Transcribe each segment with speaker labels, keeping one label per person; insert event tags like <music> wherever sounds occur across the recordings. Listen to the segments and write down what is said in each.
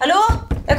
Speaker 1: Hallo? Jeg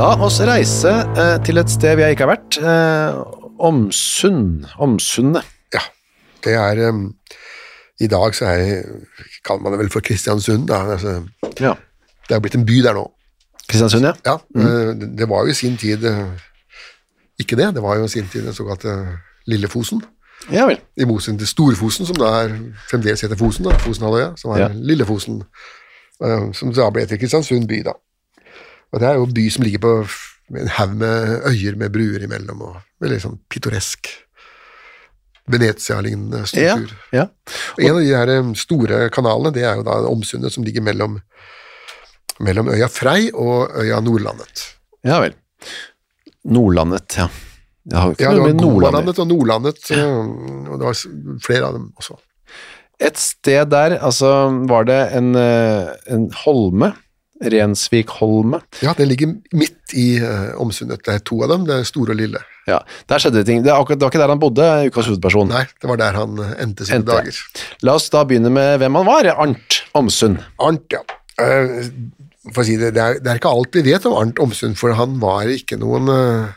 Speaker 2: La oss reise eh, til et sted jeg ikke har vært. Eh, Omsund. Omsundet.
Speaker 3: Ja, det er em, I dag så er det Kaller man det vel for Kristiansund, da. Altså,
Speaker 2: Ja.
Speaker 3: det er blitt en by der nå.
Speaker 2: Kristiansund, ja.
Speaker 3: Ja, eh, det- Det var jo i sin tid eh, ikke det. Det var jo i sin tid den såkalte Lille Fosen.
Speaker 2: Ja vel.
Speaker 3: I motsetning til Storfosen, som da er, fremdeles heter Fosen, da, Fosenhalvøya, som er
Speaker 2: Ja.
Speaker 3: Lille Fosen, eh, som da ble til Kristiansund by, da. Og det er jo en by som ligger på f- med en haug med øyer med bruer imellom, og veldig sånn pittoresk. Venezia-lignende
Speaker 2: Ja,
Speaker 3: struktur.
Speaker 2: ja.
Speaker 3: Og en av de her eh, store kanalene, det er jo da Omsundet, som ligger mellom, mellom øya Frei og øya Nordlandet.
Speaker 2: ja vel. Nordlandet, ja. Jeg har jo ikke
Speaker 3: Ja, det
Speaker 2: noe
Speaker 3: var
Speaker 2: med Nordlandet
Speaker 3: Godlandet og Nordlandet, eh, og det var s- flere av dem også.
Speaker 2: Et sted der, altså, var det en, eh, en holme. Rensvikholme.
Speaker 3: Ja, den ligger midt i eh, Omsundet. Det er to av dem, det er store og lille.
Speaker 2: Ja, der skjedde det ting. Det, er akkurat, det var ikke der han bodde, ukas hovedperson.
Speaker 3: Nei, det var der han eh, endte sine
Speaker 2: Mm. Endte.
Speaker 3: dager.
Speaker 2: La oss da begynne med hvem han var. Arnt Omsund.
Speaker 3: Arnt, ja. Eh, for å si det, det er, det er ikke alt vi vet om Arnt Omsund, for han var ikke noen eh,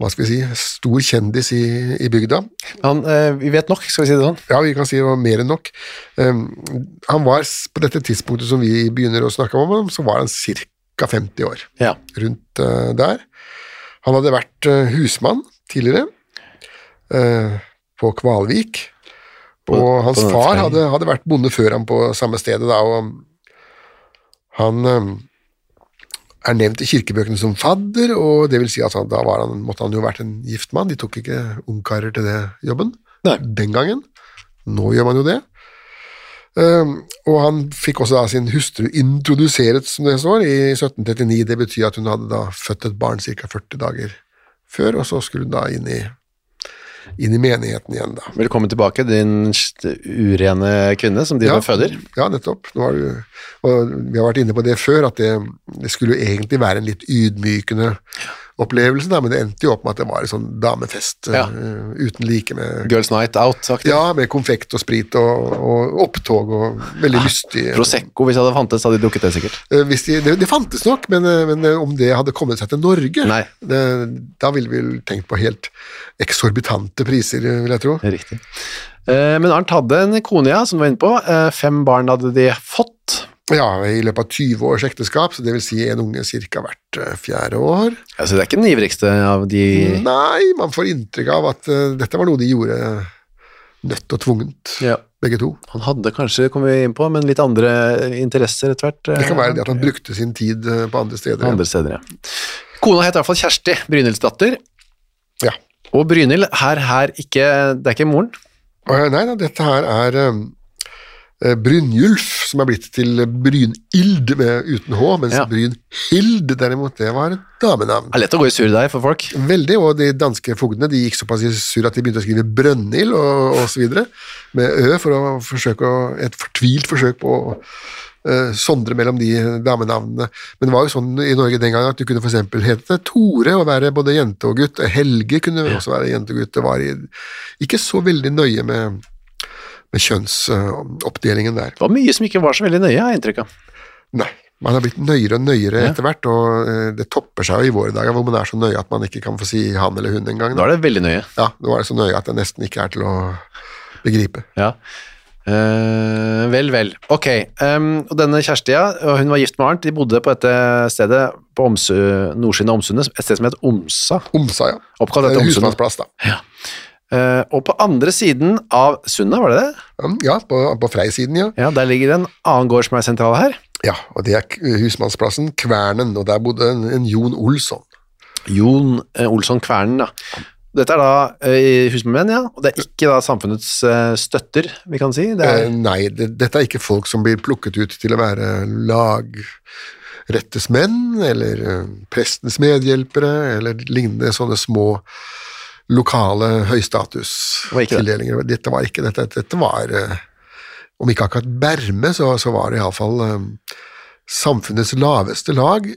Speaker 3: hva skal vi si, stor kjendis i, i bygda.
Speaker 2: Han, eh, vi vet nok, skal vi si det sånn.
Speaker 3: Ja, vi kan si det var mer enn nok. Um, han var, s- på dette tidspunktet som vi begynner å snakke om, ham, så var han ca. 50 år.
Speaker 2: Ja.
Speaker 3: rundt eh, der. Han hadde vært eh, husmann tidligere, eh, på Kvalvik, og
Speaker 2: På-
Speaker 3: hans
Speaker 2: på den
Speaker 3: far
Speaker 2: ferien.
Speaker 3: hadde, hadde vært bonde før ham på samme stedet, da, og han eh, er nevnt i kirkebøkene som fadder, og det vil si at han, da var han, måtte han jo vært en gift mann, de tok ikke ungkarer til det jobben
Speaker 2: Nei.
Speaker 3: den gangen. Nå gjør man jo det. Um, og han fikk også da sin hustru introduseret, som det står, i 1739. Det betyr at hun hadde da født et barn ca. 40 dager før, og så skulle hun da inn i, inn i menigheten igjen, da.
Speaker 2: Velkommen tilbake, din st- urene kvinne som driver og føder.
Speaker 3: Ja, nettopp. Nå var det, jo- og vi har vært inne på det før, at det, det skulle jo egentlig være en litt ydmykende opplevelse, da, men det endte jo opp med at det var en sånn damefest
Speaker 2: Ja.
Speaker 3: eh, uten like med
Speaker 2: Girls Night Out-aktig.
Speaker 3: ja, med konfekt og sprit og, og opptog og veldig lystig.
Speaker 2: Prosecco, hvis det hadde fantes, hadde de drukket det sikkert.
Speaker 3: Eh, Hvis de, det, det fantes nok, men, eh, men eh, om det hadde kommet seg til Norge,
Speaker 2: Nei.
Speaker 3: det, da ville vi vel tenkt på helt eksorbitante priser, eh, vil jeg tro.
Speaker 2: Riktig. Eh, Men Arnt hadde en kone, ja, som du var inne på. Eh, Fem barn hadde de fått.
Speaker 3: Ja, i løpet av 20 års ekteskap, så det vil si en unge cirka hvert eh, fjerde år.
Speaker 2: Ja, så Altså, det er ikke den ivrigste av de
Speaker 3: Nei, man får inntrykk av at eh, dette var noe de gjorde nødt og tvungent,
Speaker 2: ja.
Speaker 3: begge to.
Speaker 2: Han hadde kanskje, kom vi inn på, men litt andre interesser etter hvert. eh,
Speaker 3: Det kan være det at han brukte sin tid eh, på andre steder. ja.
Speaker 2: Andre steder, ja. Kona het i hvert fall Kjersti, Brynhilds datter.
Speaker 3: Ja.
Speaker 2: Og Brynhild, her, her, ikke Det er ikke moren.
Speaker 3: Eh, Nei da, dette her er eh, eh, Brynjulf, som er blitt til Brynild med uten H, mens
Speaker 2: Ja.
Speaker 3: Brynhild derimot, det var et damenavn.
Speaker 2: Det er lett å gå i surdeig for folk.
Speaker 3: Veldig, og de danske fogdene de gikk såpass i surr at de begynte å skrive Brønnhild og, og så videre, med Ø, for å forsøke å, et fortvilt forsøk på å eh, sondre mellom de damenavnene. Men det var jo sånn i Norge den gangen at du kunne f.eks. hete Tore og være både jente og gutt. Helge kunne også være jente og gutt. Det var i, ikke så veldig nøye med, med kjønnsoppdelingen der.
Speaker 2: Det var mye som ikke var så veldig nøye, har jeg inntrykk av.
Speaker 3: Nei. Man har blitt nøyere og nøyere etter hvert, og eh, det topper seg jo i våre dager hvor man er så nøye at man ikke kan få si han eller hun engang.
Speaker 2: Da er det veldig nøye.
Speaker 3: Ja, nå er det så nøye at det nesten ikke er til å begripe.
Speaker 2: Ja. Eh, vel, vel. Ok. em, og denne Kjersti, ja, og hun var gift med Arnt. De bodde på dette stedet på Omsu, nordsiden av Omsundet, et sted som het Omsa.
Speaker 3: Omsa, ja.
Speaker 2: Oppkalt etter
Speaker 3: En
Speaker 2: Omsundet.
Speaker 3: Husmannsplass, da.
Speaker 2: Eh, og på andre siden av sundet, var det det?
Speaker 3: Mm, Ja, på, på Frei-siden, ja.
Speaker 2: Ja, der ligger det en annen gård som er sentral her.
Speaker 3: Ja, og det er k- husmannsplassen Kvernen, og der bodde en, en Jon Olsson.
Speaker 2: Jon eh, Olsson Kvernen, da. Dette er da uh, husmennmenn, ja. Og det er ikke da samfunnets eh, støtter, vi kan si. Det
Speaker 3: Eh,
Speaker 2: er,
Speaker 3: nei, det, dette er ikke folk som blir plukket ut til å være lagrettes menn, eller eh, prestens medhjelpere, eller lignende sånne små lokale
Speaker 2: var ikke det.
Speaker 3: høystatus-tildelinger. Dette var ikke dette. Dette var, eh, om ikke akkurat berme, så, så var det iallfall eh, samfunnets laveste lag,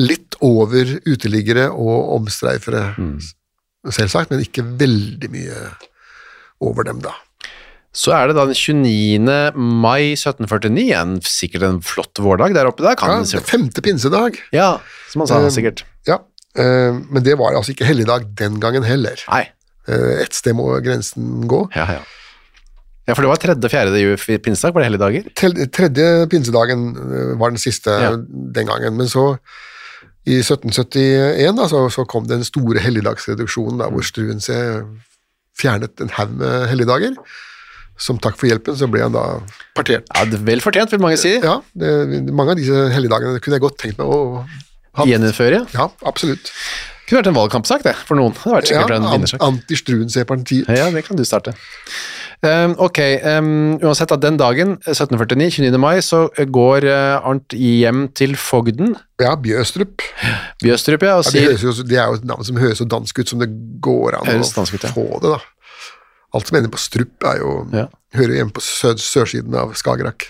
Speaker 3: litt over uteliggere og omstreifere,
Speaker 2: Mm.
Speaker 3: selvsagt, men ikke veldig mye over dem, da.
Speaker 2: så er det da den 29. mai 1749, en, sikkert en flott vårdag der oppe der.
Speaker 3: Ja,
Speaker 2: Kan
Speaker 3: det er femte pinsedag.
Speaker 2: ja, som han sa,
Speaker 3: Eh,
Speaker 2: sikkert.
Speaker 3: Ja, eh, men det var altså ikke helligdag den gangen heller.
Speaker 2: Nei.
Speaker 3: Eh, Et sted må grensen gå.
Speaker 2: Ja, ja. Ja, for det var tredje, fjerde ju- f- pinsedag, var det helligdager?
Speaker 3: Tel- Tredje pinsedagen eh, var den siste
Speaker 2: Ja.
Speaker 3: den gangen, men så i 1771 da, så, så kom den store helligdagsreduksjonen da, hvor Struensee fjernet en haug med helligdager. Som takk for hjelpen så ble han da partert.
Speaker 2: Ja, det er Vel fortjent, vil mange si.
Speaker 3: Ja, det, mange av disse helligdagene kunne jeg godt tenkt meg å ha.
Speaker 2: Gjeninnføre.
Speaker 3: Ja, absolutt.
Speaker 2: Kunne vært en valgkampsak, det, for noen. Det hadde vært
Speaker 3: Ja,
Speaker 2: sikkert en
Speaker 3: an-
Speaker 2: vinnersak.
Speaker 3: Anti-Struensee-partiet.
Speaker 2: Ja, det kan du starte. Ehm, ok, ehm, uansett at den dagen, 1749, 29. mai, så går eh, Arnt hjem til fogden,
Speaker 3: Ja, Bjøstrup.
Speaker 2: Bjøstrup, ja, og
Speaker 3: Ja, det,
Speaker 2: sier
Speaker 3: høres jo, det er jo et navn som høres så dansk ut som det går an
Speaker 2: Høres
Speaker 3: å
Speaker 2: dansk ut, ja.
Speaker 3: få det, da. Alt som ender på strup, er jo,
Speaker 2: Ja.
Speaker 3: hører jo hjemme på sør, sørsiden av Skagerrak.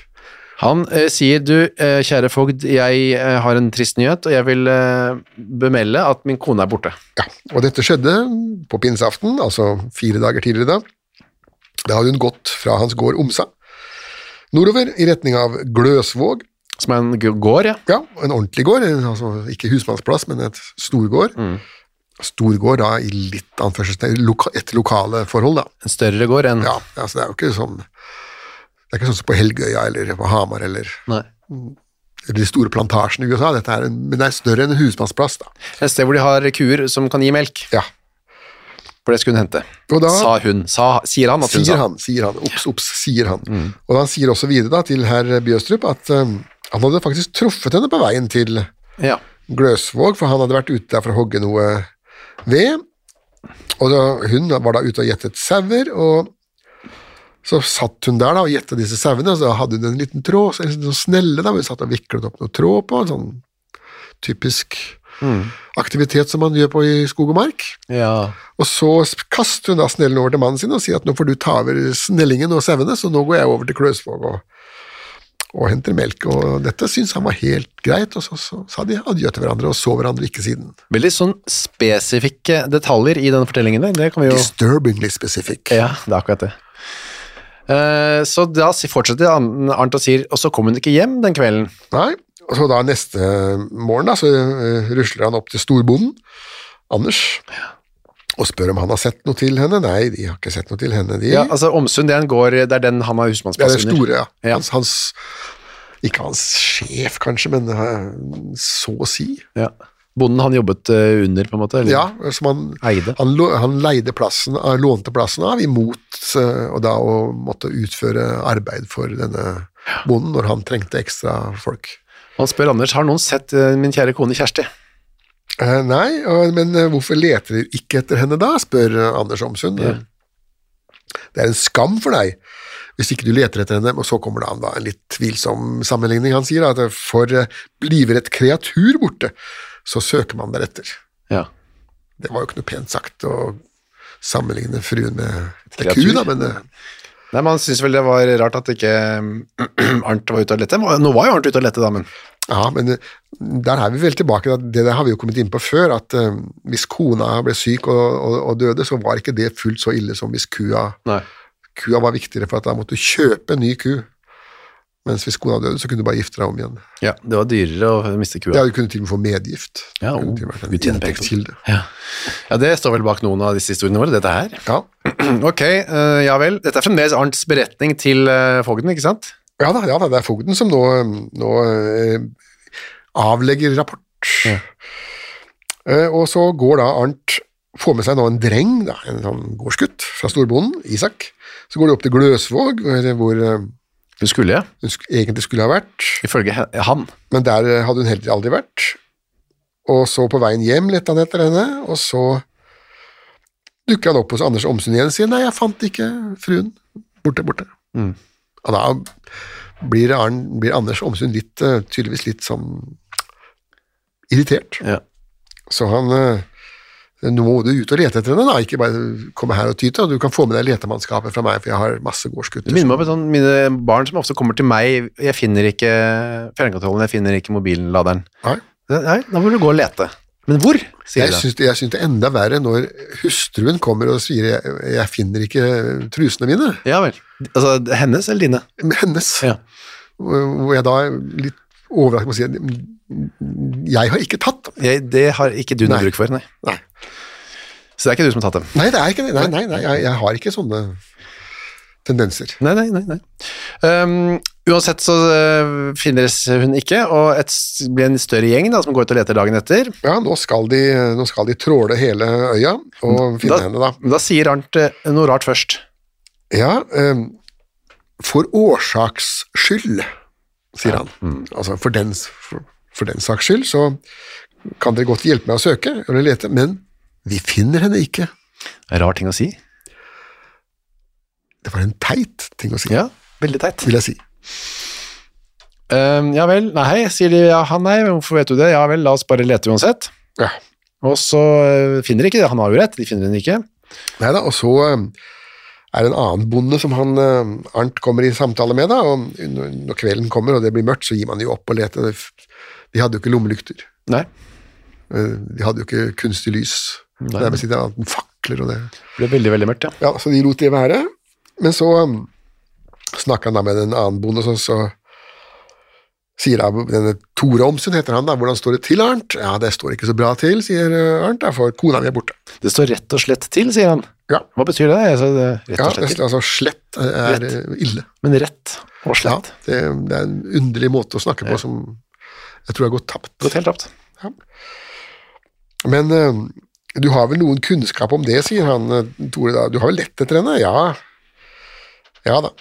Speaker 2: Han eh, sier, du, eh, kjære fogd, jeg eh, har en trist nyhet, og jeg vil eh, bemelde at min kone er borte.
Speaker 3: Ja, og dette skjedde på pinseaften, altså fire dager tidligere da. Da hadde hun gått fra hans gård Omsa, nordover i retning av Gløsvåg,
Speaker 2: Som er en g- gård, ja.
Speaker 3: ja, en ordentlig gård, en- altså ikke husmannsplass, men et storgård.
Speaker 2: Mm.
Speaker 3: Storgård da, i litt anførselstegn, loka, et lokale forhold da.
Speaker 2: En større gård enn...
Speaker 3: Ja, altså det er jo ikke sånn Det er ikke sånn som på Helgøya eller på Hamar eller,
Speaker 2: Nei.
Speaker 3: eller de store plantasjene i USA. Dette er en, men det er større enn en husmannsplass, da.
Speaker 2: Et sted hvor de har kuer som kan gi melk,
Speaker 3: Ja.
Speaker 2: for det skulle hun hente.
Speaker 3: Og da
Speaker 2: sa hun, sa, sier han at hun
Speaker 3: sier
Speaker 2: sa. Mm.
Speaker 3: han, sier han, ops, ops, sier han. Og han sier også videre da til herr Bjøstrup at eh, han hadde faktisk truffet henne på veien til
Speaker 2: Ja.
Speaker 3: Gløsvåg, for han hadde vært ute der for å hogge noe ved. Og da, hun var da ute og gjettet sauer, og så satt hun der da og gjetta disse sauene, og så hadde hun en liten tråd, en sånn snelle da, hvor hun satt og viklet opp noe tråd på, en sånn typisk aktivitet som man gjør på i skog og mark.
Speaker 2: ja.
Speaker 3: Og så sp- kaster hun da snellen over til mannen sin og sier at nå får du ta over snellingen og sauene, så nå går jeg over til Kløsvåg og, og henter melk. Og dette syntes han var helt greit, og så, så sa de adjø til hverandre og så hverandre ikke siden.
Speaker 2: Veldig sånn spesifikke detaljer i denne fortellingen der. Det kan vi jo
Speaker 3: Disturbingly specific.
Speaker 2: Ja, det er akkurat det. Eh, Så da si- fortsetter han- Arnt og sier, og så kom hun ikke hjem den kvelden.
Speaker 3: Nei, og så da neste morgen da, så eh, rusler han opp til storbonden, Anders, og spør om han har sett noe til henne. Nei, de har ikke sett noe til henne, de.
Speaker 2: Ja, altså Omsund, det er en gård, det er den han har
Speaker 3: Det er den
Speaker 2: husmannsplass under.
Speaker 3: store, ja.
Speaker 2: Ja.
Speaker 3: Hans, hans, ikke hans sjef, kanskje, men eh, så å si.
Speaker 2: Ja. Bonden han jobbet eh, under, på en måte? Eller?
Speaker 3: Ja, som han,
Speaker 2: Eide.
Speaker 3: han, lå- han leide plassen, eh, lånte plassen av imot eh, og da å måtte utføre arbeid for denne bonden når han trengte ekstra folk.
Speaker 2: Han spør Anders, har noen sett eh, min kjære kone Kjersti?
Speaker 3: Eh, nei, og, men eh, hvorfor leter dere ikke etter henne da, spør eh, Anders Omsund. Det er en skam for deg. hvis ikke du leter etter henne, og så kommer det an da en litt tvilsom sammenligning. Han sier da at for eh, bliver et kreatur borte, så søker man deretter.
Speaker 2: Ja.
Speaker 3: Det var jo ikke noe pent sagt å sammenligne fruen med en ku,
Speaker 2: Kreatur?
Speaker 3: da, men eh,
Speaker 2: Nei, Man syns vel det var rart at ikke <clears throat> mm, Arnt var ute og lette. Nå var jo Arnt ute og lette, da, men
Speaker 3: Ja, men eh, der er vi vel tilbake til at det der har vi jo kommet inn på før, at eh, hvis kona ble syk og, og, og døde, så var ikke det fullt så ille som hvis kua,
Speaker 2: Nei.
Speaker 3: kua var viktigere, for at da måtte du kjøpe en ny ku. Mens hvis kona døde, så kunne du bare gifte deg om igjen.
Speaker 2: Ja, Det var dyrere å miste kua.
Speaker 3: Ja, du kunne til og med få medgift. Det
Speaker 2: Ja,
Speaker 3: kunne
Speaker 2: oh,
Speaker 3: til og med vært en
Speaker 2: Gud tjener penger på det.
Speaker 3: inntektskilde.
Speaker 2: Ja. ja, det står vel bak noen av disse historiene våre, dette her. <clears throat>
Speaker 3: Ja.
Speaker 2: Ok, eh, ja vel. Dette er fremdeles Arnts beretning til eh, fogden, ikke sant?
Speaker 3: Ja, da, ja da, det er fogden som nå, nå eh, avlegger rapport. Eh, og så går da Arnt får med seg nå en dreng, da, en sånn gårdsgutt fra storbonden, Isak. Så går de opp til Gløsvåg, hvor- hvor eh,
Speaker 2: Det skulle jeg,
Speaker 3: hun sk- egentlig skulle ha vært,
Speaker 2: ifølge he- han.
Speaker 3: men der eh, hadde hun heller aldri vært. Og så på veien hjem lette han etter henne, og så dukker han opp hos Anders Omsund igjen og sier nei, jeg fant ikke fruen. Borte, borte.
Speaker 2: Mm.
Speaker 3: Og da blir, Arn, blir Anders Omsund litt, eh, tydeligvis litt sånn irritert.
Speaker 2: Ja.
Speaker 3: Så han eh, Nå må du ut og lete etter henne, da. Ikke bare komme her og tyte. Og du kan få med deg letemannskapet fra meg, for jeg har masse
Speaker 2: Det
Speaker 3: gårdsgutter.
Speaker 2: minner meg om et sånt, mine barn som ofte kommer til meg Jeg finner ikke fjernkontrollen, jeg finner ikke mobilladeren.
Speaker 3: Nei.
Speaker 2: Nei, da må du gå og lete. Men hvor? sier
Speaker 3: Jeg
Speaker 2: de.
Speaker 3: syns det, jeg synes det er enda verre når hustruen kommer og sier jeg, 'jeg finner ikke trusene mine',
Speaker 2: Ja vel. Altså hennes eller dine?
Speaker 3: men hennes.
Speaker 2: Ja.
Speaker 3: Hvor hvor jeg da er litt overrasket må si at jeg har ikke tatt dem.
Speaker 2: Jeg, det har ikke du noe
Speaker 3: Nei.
Speaker 2: bruk for, nei.
Speaker 3: Nei.
Speaker 2: Så det er ikke du som har tatt dem.
Speaker 3: Nei, det er ikke det. Nei, nei, nei jeg, jeg har ikke sånne tendenser.
Speaker 2: Nei, nei, nei. nei. Um, uansett så øh, finnes hun ikke, og et, s- blir en større gjeng da, som går ut og leter dagen etter.
Speaker 3: Ja, nå skal de, nå skal de tråle hele øya og finne
Speaker 2: da,
Speaker 3: henne, da.
Speaker 2: men da sier Arnt eh, noe rart først.
Speaker 3: Ja, ehm, for årsaks skyld, sier han.
Speaker 2: Mm.
Speaker 3: Altså for den, for, for den saks skyld, så kan dere godt hjelpe meg å søke eller lete, men vi finner henne ikke.
Speaker 2: Rar ting å si.
Speaker 3: Det var en teit ting å si,
Speaker 2: Ja, veldig teit.
Speaker 3: vil jeg si.
Speaker 2: Ehm, ja vel, nei, sier de. Ja, han nei, hvorfor vet du det? Ja vel, la oss bare lete uansett.
Speaker 3: Ja.
Speaker 2: Og så øh, finner de ikke det, han har jo rett, de finner henne ikke.
Speaker 3: Neida, og så ehm, er det en annen bonde som han, ehm, Arnt kommer i samtale med, da, og når når kvelden kommer og det blir mørkt, så gir man jo opp å lete. Det f- De hadde jo ikke lommelykter,
Speaker 2: Nei,
Speaker 3: Eh, de hadde jo ikke kunstig lys,
Speaker 2: Nei.
Speaker 3: nærmest ikke annet enn fakler og det.
Speaker 2: det ble veldig, veldig mørkt, ja.
Speaker 3: Ja, så de lot det være. Men så um, snakka han da med en annen bonde, så, så sier da denne Tore Omsund, heter han da, hvordan står det til, Arnt? Ja, det står ikke så bra til, sier uh, Arnt, da, for kona mi er borte.
Speaker 2: Det står rett og slett til, sier han.
Speaker 3: Ja.
Speaker 2: Hva betyr det? Jeg sa det rett
Speaker 3: Ja,
Speaker 2: og slett
Speaker 3: det,
Speaker 2: til.
Speaker 3: altså slett uh, er
Speaker 2: Rett.
Speaker 3: uh, ille.
Speaker 2: Men rett og
Speaker 3: Ja,
Speaker 2: slett.
Speaker 3: det, det er en underlig måte å snakke på som jeg tror har gått tapt.
Speaker 2: Gått helt tapt.
Speaker 3: Men eh, du har vel noen kunnskap om det, sier han eh, Tore da. Du har vel lett etter henne? Ja. Ja da.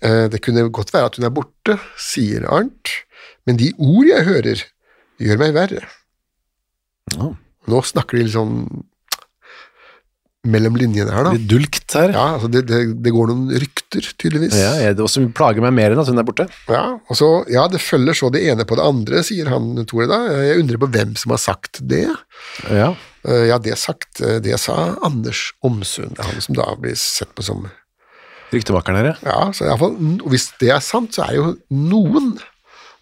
Speaker 3: Eh, det kunne godt være at hun er borte, sier Arnt. Men de ord jeg hører, gjør meg verre.
Speaker 2: Ja.
Speaker 3: Nå snakker de litt sånn mellom linjene her, da.
Speaker 2: Litt dulkt her.
Speaker 3: Ja, altså det, det, det går noen rykter, tydeligvis.
Speaker 2: Ja, jeg, det også plager meg mer enn at hun er borte.
Speaker 3: Ja, og så, ja, det følger så det ene på det andre, sier han Tore da. Jeg undrer på hvem som har sagt det.
Speaker 2: Ja.
Speaker 3: Eh, Ja, det sagt, eh, det sa Anders Omsund, det er han som da blir sett på som
Speaker 2: Ryktemakeren her, ja.
Speaker 3: Ja, så i alle fall, n- og hvis det er sant, så er jo noen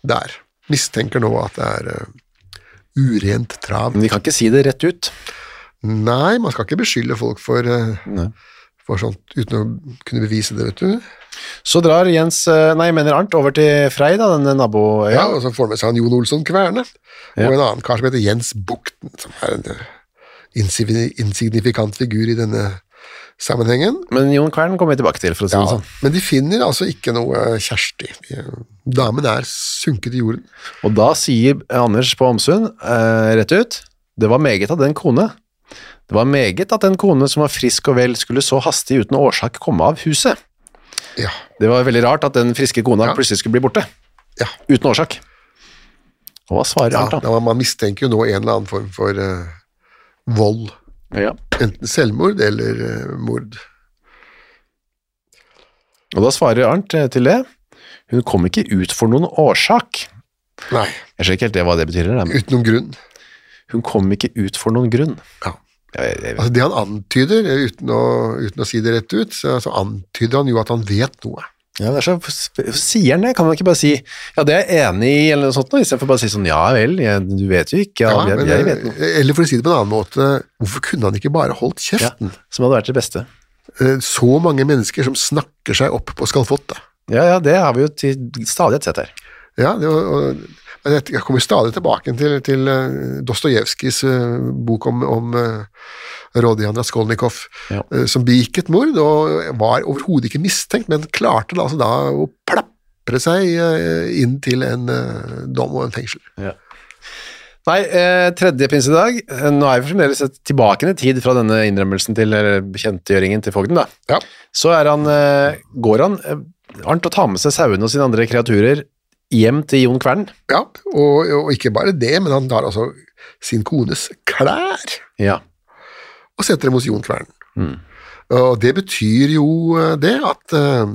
Speaker 3: der mistenker nå at det er eh, urent trav.
Speaker 2: Men vi kan ikke si det rett ut.
Speaker 3: Nei, man skal ikke beskylde folk for, eh,
Speaker 2: Nei.
Speaker 3: for sånt uten å kunne bevise det, vet du.
Speaker 2: Så drar Jens, eh, nei, jeg mener Arnt, over til Frei, da, denne naboøya.
Speaker 3: Ja, og så får han med seg han Jon Olsson Kverne, og en annen kar som heter Jens Bukten, som er en eh, insigni- insignifikant figur i denne sammenhengen.
Speaker 2: Men Jon Kvern kommer vi tilbake til, for å si det sånn.
Speaker 3: Men de finner altså ikke noe eh, Kjersti. De- Damen er sunket i jorden.
Speaker 2: Og da sier Anders på Omsund eh, rett ut Det var meget at den kone Det var meget at den kone som var frisk og vel skulle så hastig uten årsak komme av huset.
Speaker 3: Ja,
Speaker 2: Det var veldig rart at den friske kona
Speaker 3: Ja.
Speaker 2: plutselig skulle bli borte.
Speaker 3: Ja.
Speaker 2: Uten årsak. Og hva svarer
Speaker 3: ja
Speaker 2: Arnt da?
Speaker 3: da, Man mistenker jo nå en eller annen form for eh, vold.
Speaker 2: Ja.
Speaker 3: Enten selvmord eller eh, mord.
Speaker 2: Og da svarer Arnt eh, til det. Hun kom ikke ut for noen årsak.
Speaker 3: Nei,
Speaker 2: Jeg ser ikke helt det, hva det betyr. eller, men
Speaker 3: uten noen grunn.
Speaker 2: Hun kom ikke ut for noen grunn.
Speaker 3: Ja.
Speaker 2: Jeg, jeg,
Speaker 3: Altså, det han antyder, eh, uten å, uten å si det rett ut, så, så antyder han jo at han vet noe.
Speaker 2: Ja, det er så, hvorfor sier han det? Kan man ikke bare si ja, det er jeg enig i, eller noe sånt, nå, istedenfor bare å si sånn ja vel, jeg, du vet jo ikke, ja,
Speaker 3: Ja,
Speaker 2: jeg,
Speaker 3: men,
Speaker 2: jeg vet noe.
Speaker 3: eh, eller for å si det på en annen måte, hvorfor kunne han ikke bare holdt
Speaker 2: Ja,
Speaker 3: kjeften?
Speaker 2: som hadde vært det beste.
Speaker 3: Eh, Så mange mennesker som snakker seg opp på skalfottet.
Speaker 2: Ja, ja, det har vi jo til stadighet sett her.
Speaker 3: Ja, det, var- og, men jeg- jeg kommer stadig tilbake til, til eh, Dostojevskijs eh, bok om, om eh, Rodianna Skolnikov,
Speaker 2: Ja.
Speaker 3: eh, som begikk et mord og var overhodet ikke mistenkt, men klarte da, altså da å plapre seg eh, inn til en eh, dom og en fengsel.
Speaker 2: Nei, eh, tredje pinsedag. eh, Nå er vi fremdeles et- tilbake i tid fra denne innrømmelsen til eller bekjentgjøringen til fogden, da.
Speaker 3: Ja.
Speaker 2: Så er han, eh, går han, eh, Arnt, og tar med seg sauene og sine andre kreaturer hjem til Jon Kvern.
Speaker 3: Ja, og, og ikke bare det, men han tar altså sin kones klær
Speaker 2: Ja.
Speaker 3: og setter dem hos Jon Kvern.
Speaker 2: Mm.
Speaker 3: Og det betyr jo eh, det at eh,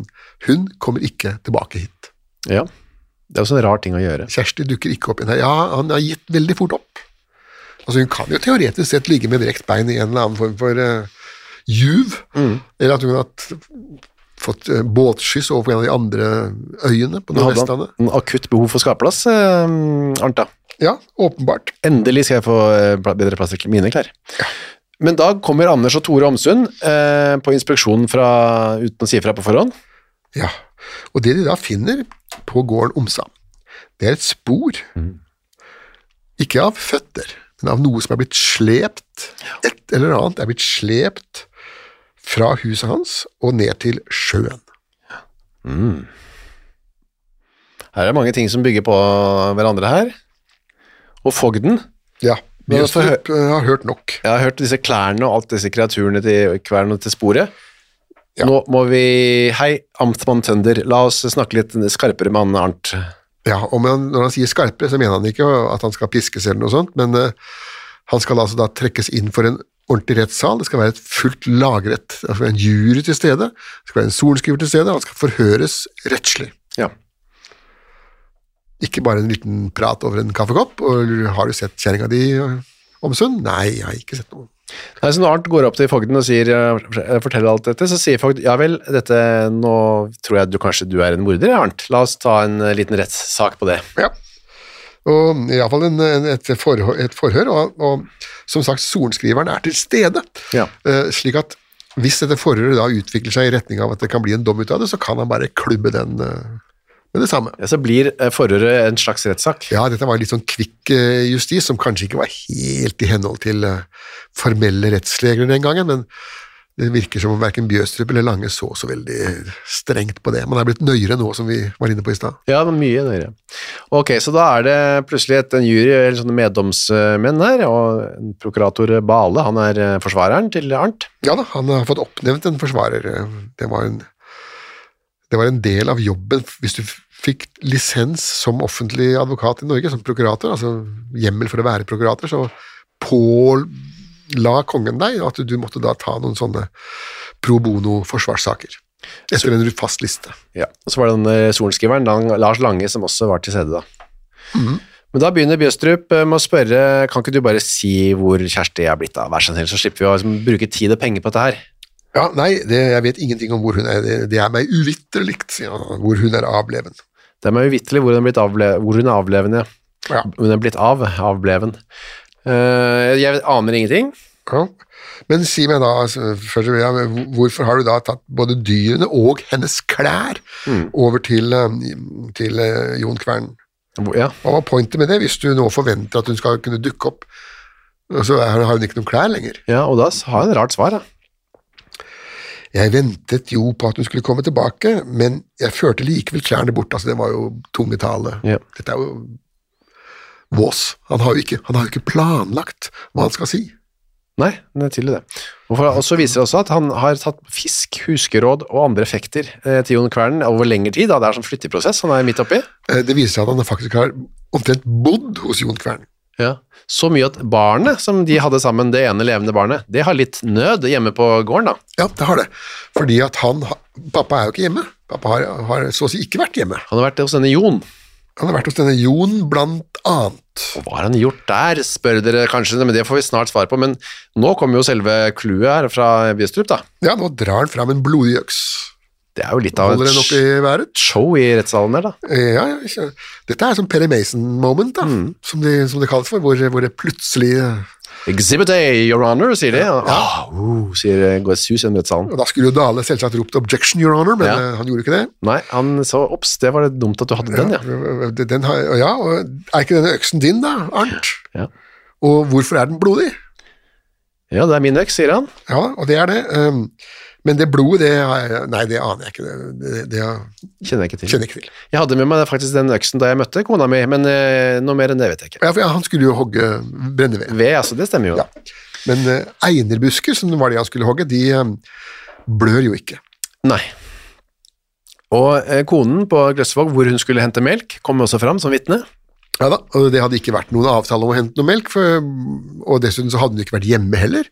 Speaker 3: hun kommer ikke tilbake hit.
Speaker 2: ja. Det er jo sånn rar ting å gjøre.
Speaker 3: Kjersti dukker ikke opp igjen her. Ja, han har gitt veldig fort opp. Altså, hun kan jo teoretisk sett ligge med brekt bein i en eller annen form for eh, juv, eller at hun har hatt- fått eh, båtskyss over på en av de andre øyene på
Speaker 2: Nå hadde
Speaker 3: Nordvestlandet.
Speaker 2: han en akutt behov for skapeplass, eh, Arnt, da.
Speaker 3: Ja, åpenbart.
Speaker 2: Endelig skal jeg få eh, pla- bedre plass til mine klær. Men da kommer Anders og Tore Omsund eh, på inspeksjon fra, uten å si fra på forhånd.
Speaker 3: Ja. Og det de da finner på gården Omsa, det er et spor. Ikke av føtter, men av noe som er blitt slept. Et eller annet er blitt slept fra huset hans og ned til sjøen.
Speaker 2: Her er det mange ting som bygger på hverandre her. Og fogden.
Speaker 3: Ja,
Speaker 2: Men da får jeg
Speaker 3: Bjørstrup eh, har hørt nok.
Speaker 2: Jeg har hørt disse klærne og alt disse kreaturene til kvern og til sporet.
Speaker 3: Ja.
Speaker 2: Nå må vi Hei, amtmann Tønder, la oss snakke litt skarpere med han Arnt.
Speaker 3: Ja, og men Når han sier skarpere, så mener han ikke at han skal piskes eller noe sånt, men eh, han skal altså da trekkes inn for en ordentlig rettssal. Det skal være et fullt lagrett. Det skal være en jury til stede, det skal være en sorenskriver til stede, han skal forhøres rettslig.
Speaker 2: Ja.
Speaker 3: Ikke bare en liten prat over en kaffekopp. og 'Har du sett kjerringa di, Omsund?' Nei, jeg har ikke sett noe.
Speaker 2: Nei, så når Arnt går opp til fogden og sier, eh, forteller alt dette, så sier fogden ja vel, dette, nå tror jeg du kanskje du er en morder, Arnt. La oss ta en eh, liten rettssak på det.
Speaker 3: Ja. Og iallfall et, forhør, et forhør, og, og som sagt, sorenskriveren er til stede.
Speaker 2: Ja.
Speaker 3: Eh, slik at hvis dette forhøret da utvikler seg i retning av at det kan bli en dom ut av det, så kan han bare klubbe den eh, med det samme.
Speaker 2: Ja, så blir eh, forhøret en slags rettssak.
Speaker 3: Ja, dette var litt sånn kvikk eh, justis, som kanskje ikke var helt i henhold til eh, formelle rettsregler den gangen, men det virker som om verken Bjøstrup eller Lange så så veldig strengt på det. Man er blitt nøyere nå, som vi var inne på i stad.
Speaker 2: Ja, men mye nøyere. Ok, så da er det plutselig et, en jury, eller sånne meddomsmenn her, og en prokurator Bale, han er eh, forsvareren til Arnt.
Speaker 3: Ja da, han har fått oppnevnt en forsvarer. Det var en, det var en del av jobben. Hvis du f- fikk lisens som offentlig advokat i Norge, som prokurator, altså hjemmel for å være prokurator, så påla kongen deg at du måtte da ta noen sånne pro bono-forsvarssaker. Etter en fast liste.
Speaker 2: Ja. Og så var det den sorenskriveren, Lang, Lars Lange, som også var til stede da. Men da begynner Bjøstrup eh, med å spørre, kan ikke du bare si hvor Kjersti er blitt av? Vær så snill, så slipper vi å liksom, bruke tid og penger på dette her.
Speaker 3: Ja, nei, det, jeg vet ingenting om hvor hun er. Det, det er meg uvitterligt, sier han, hvor hun er avleven.
Speaker 2: Det er meg uvittelig hvor hun er blitt avle hvor hun er avlevende.
Speaker 3: Ja.
Speaker 2: Hun er blitt av, avleven. Eh, jeg aner ingenting.
Speaker 3: Ja. Men si meg da, altså, først vil jeg, hvorfor har du da tatt både dyrene og hennes klær over til, eh, til eh, Jon Kvern?
Speaker 2: Hvor- Ja,
Speaker 3: Hva var pointet med det, hvis du nå forventer at hun skal kunne dukke opp? Og så er- har hun ikke noen klær lenger.
Speaker 2: ja og da har jeg en rart svar da.
Speaker 3: Jeg ventet jo på at hun skulle komme tilbake, men jeg førte likevel klærne bort. Altså, det var jo tungetale.
Speaker 2: Ja.
Speaker 3: Dette er jo vås. Han har jo ikke, han har jo ikke planlagt hva han skal si.
Speaker 2: Nei, det er tydelig det. Og for- og så viser det også at han har tatt fisk, huskeråd og andre effekter eh, til Jon Kvern over lengre tid. Da. Det er sånn flytteprosess han er midt oppi.
Speaker 3: Eh, Det viser seg at han faktisk har omtrent bodd hos Jon Kvern.
Speaker 2: Ja. Så mye at barnet som de hadde sammen, det ene levende barnet, det har litt nød hjemme på gården da.
Speaker 3: Ja, det har det. Fordi at han ha- Pappa er jo ikke hjemme. Pappa har, har så å si ikke vært hjemme.
Speaker 2: Han har vært hos denne Jon.
Speaker 3: Han har vært hos denne Jon, blant annet.
Speaker 2: Og Hva har han gjort der, spør dere kanskje, men det får vi snart svar på. Men nå kommer jo selve clouet her fra Biestrup, da.
Speaker 3: Ja, nå drar han fram en blodig øks.
Speaker 2: Det er jo litt av
Speaker 3: Holder den opp i
Speaker 2: et
Speaker 3: været.
Speaker 2: show i rettssalen der, da.
Speaker 3: Eh, Ja, ja, ikke. Dette er sånn Perry Mason-moment, da,
Speaker 2: Mm.
Speaker 3: som, de, som det kalles for, hvor, hvor det plutselig Og
Speaker 2: Exhibit A, Your Honor, sier de. Ah, oh, sier går sus gjennom rettssalen.
Speaker 3: da skulle jo Dale selvsagt ropt 'objection, your honor', men
Speaker 2: Ja.
Speaker 3: eh, han gjorde ikke det.
Speaker 2: Nei, han så Ops, det var det dumt at du hadde den, ja.
Speaker 3: Den, har, og ja, og er ikke denne øksen din, da, Arnt?
Speaker 2: Ja.
Speaker 3: Og hvorfor er den blodig?
Speaker 2: Ja, det er min øks, sier han.
Speaker 3: Ja, og det er det. ehm, Men det blodet, det har jeg Nei, det aner jeg ikke. Det, det, det
Speaker 2: Kjenner jeg ikke til.
Speaker 3: kjenner jeg ikke til.
Speaker 2: Jeg hadde med meg faktisk den øksen da jeg møtte kona mi, men eh, noe mer enn det vet jeg ikke.
Speaker 3: Ja, for ja, han skulle jo hogge brenneved.
Speaker 2: Ved, altså, det stemmer jo.
Speaker 3: Ja. Men eh, einerbusker, som var det han skulle hogge, de ehm, blør jo ikke.
Speaker 2: Nei. Og eh, konen på Gløssvåg, hvor hun skulle hente melk, kom også fram som vitne.
Speaker 3: Ja da, og det hadde ikke vært noen avtale om å hente noe melk, for, og dessuten så hadde hun ikke vært hjemme heller.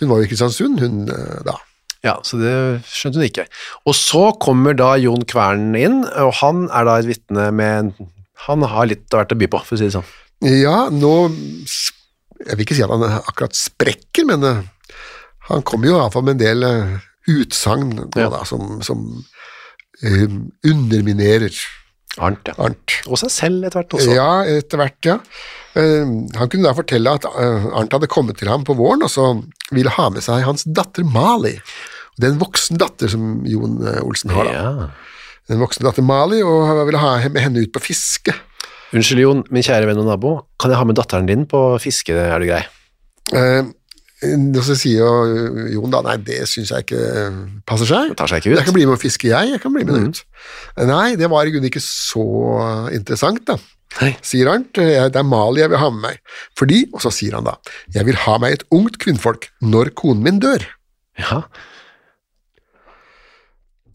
Speaker 3: Hun var jo i Kristiansund, hun eh, da.
Speaker 2: Ja, så det skjønte hun ikke. Og så kommer da Jon Kvern inn, og han er da et vitne med Han har litt av hvert å by på, for å si det sånn.
Speaker 3: Ja, nå sp- Jeg vil ikke si at han akkurat sprekker, men eh, han kommer jo iallfall med en del eh, utsagn nå
Speaker 2: Ja.
Speaker 3: da, som, som eh, underminerer
Speaker 2: Arnt, ja.
Speaker 3: Arnt.
Speaker 2: Og seg selv etter hvert også.
Speaker 3: Ja, etter hvert, ja. Eh, Han kunne da fortelle at eh, Arnt hadde kommet til ham på våren, og så ville ha med seg hans datter Mali. Det er en voksen datter som Jon eh, Olsen har, da.
Speaker 2: Ja.
Speaker 3: En voksen datter Mali, og han ville ha med henne ut på fiske.
Speaker 2: Unnskyld, Jon, min kjære venn og nabo. Kan jeg ha med datteren din på fiske, er du grei?
Speaker 3: Eh, Og så sier jo Jon da, nei, det syns jeg ikke eh, passer seg.
Speaker 2: tar seg ikke ut. Mm.
Speaker 3: Jeg kan bli med å fiske, jeg. Jeg kan bli med ut. Eh, Nei, det var i grunnen ikke så interessant, da.
Speaker 2: Nei.
Speaker 3: Sier Arnt, eh, det er Mali jeg vil ha med meg. Fordi, og så sier han da, jeg vil ha meg et ungt kvinnfolk når konen min dør.
Speaker 2: Ja.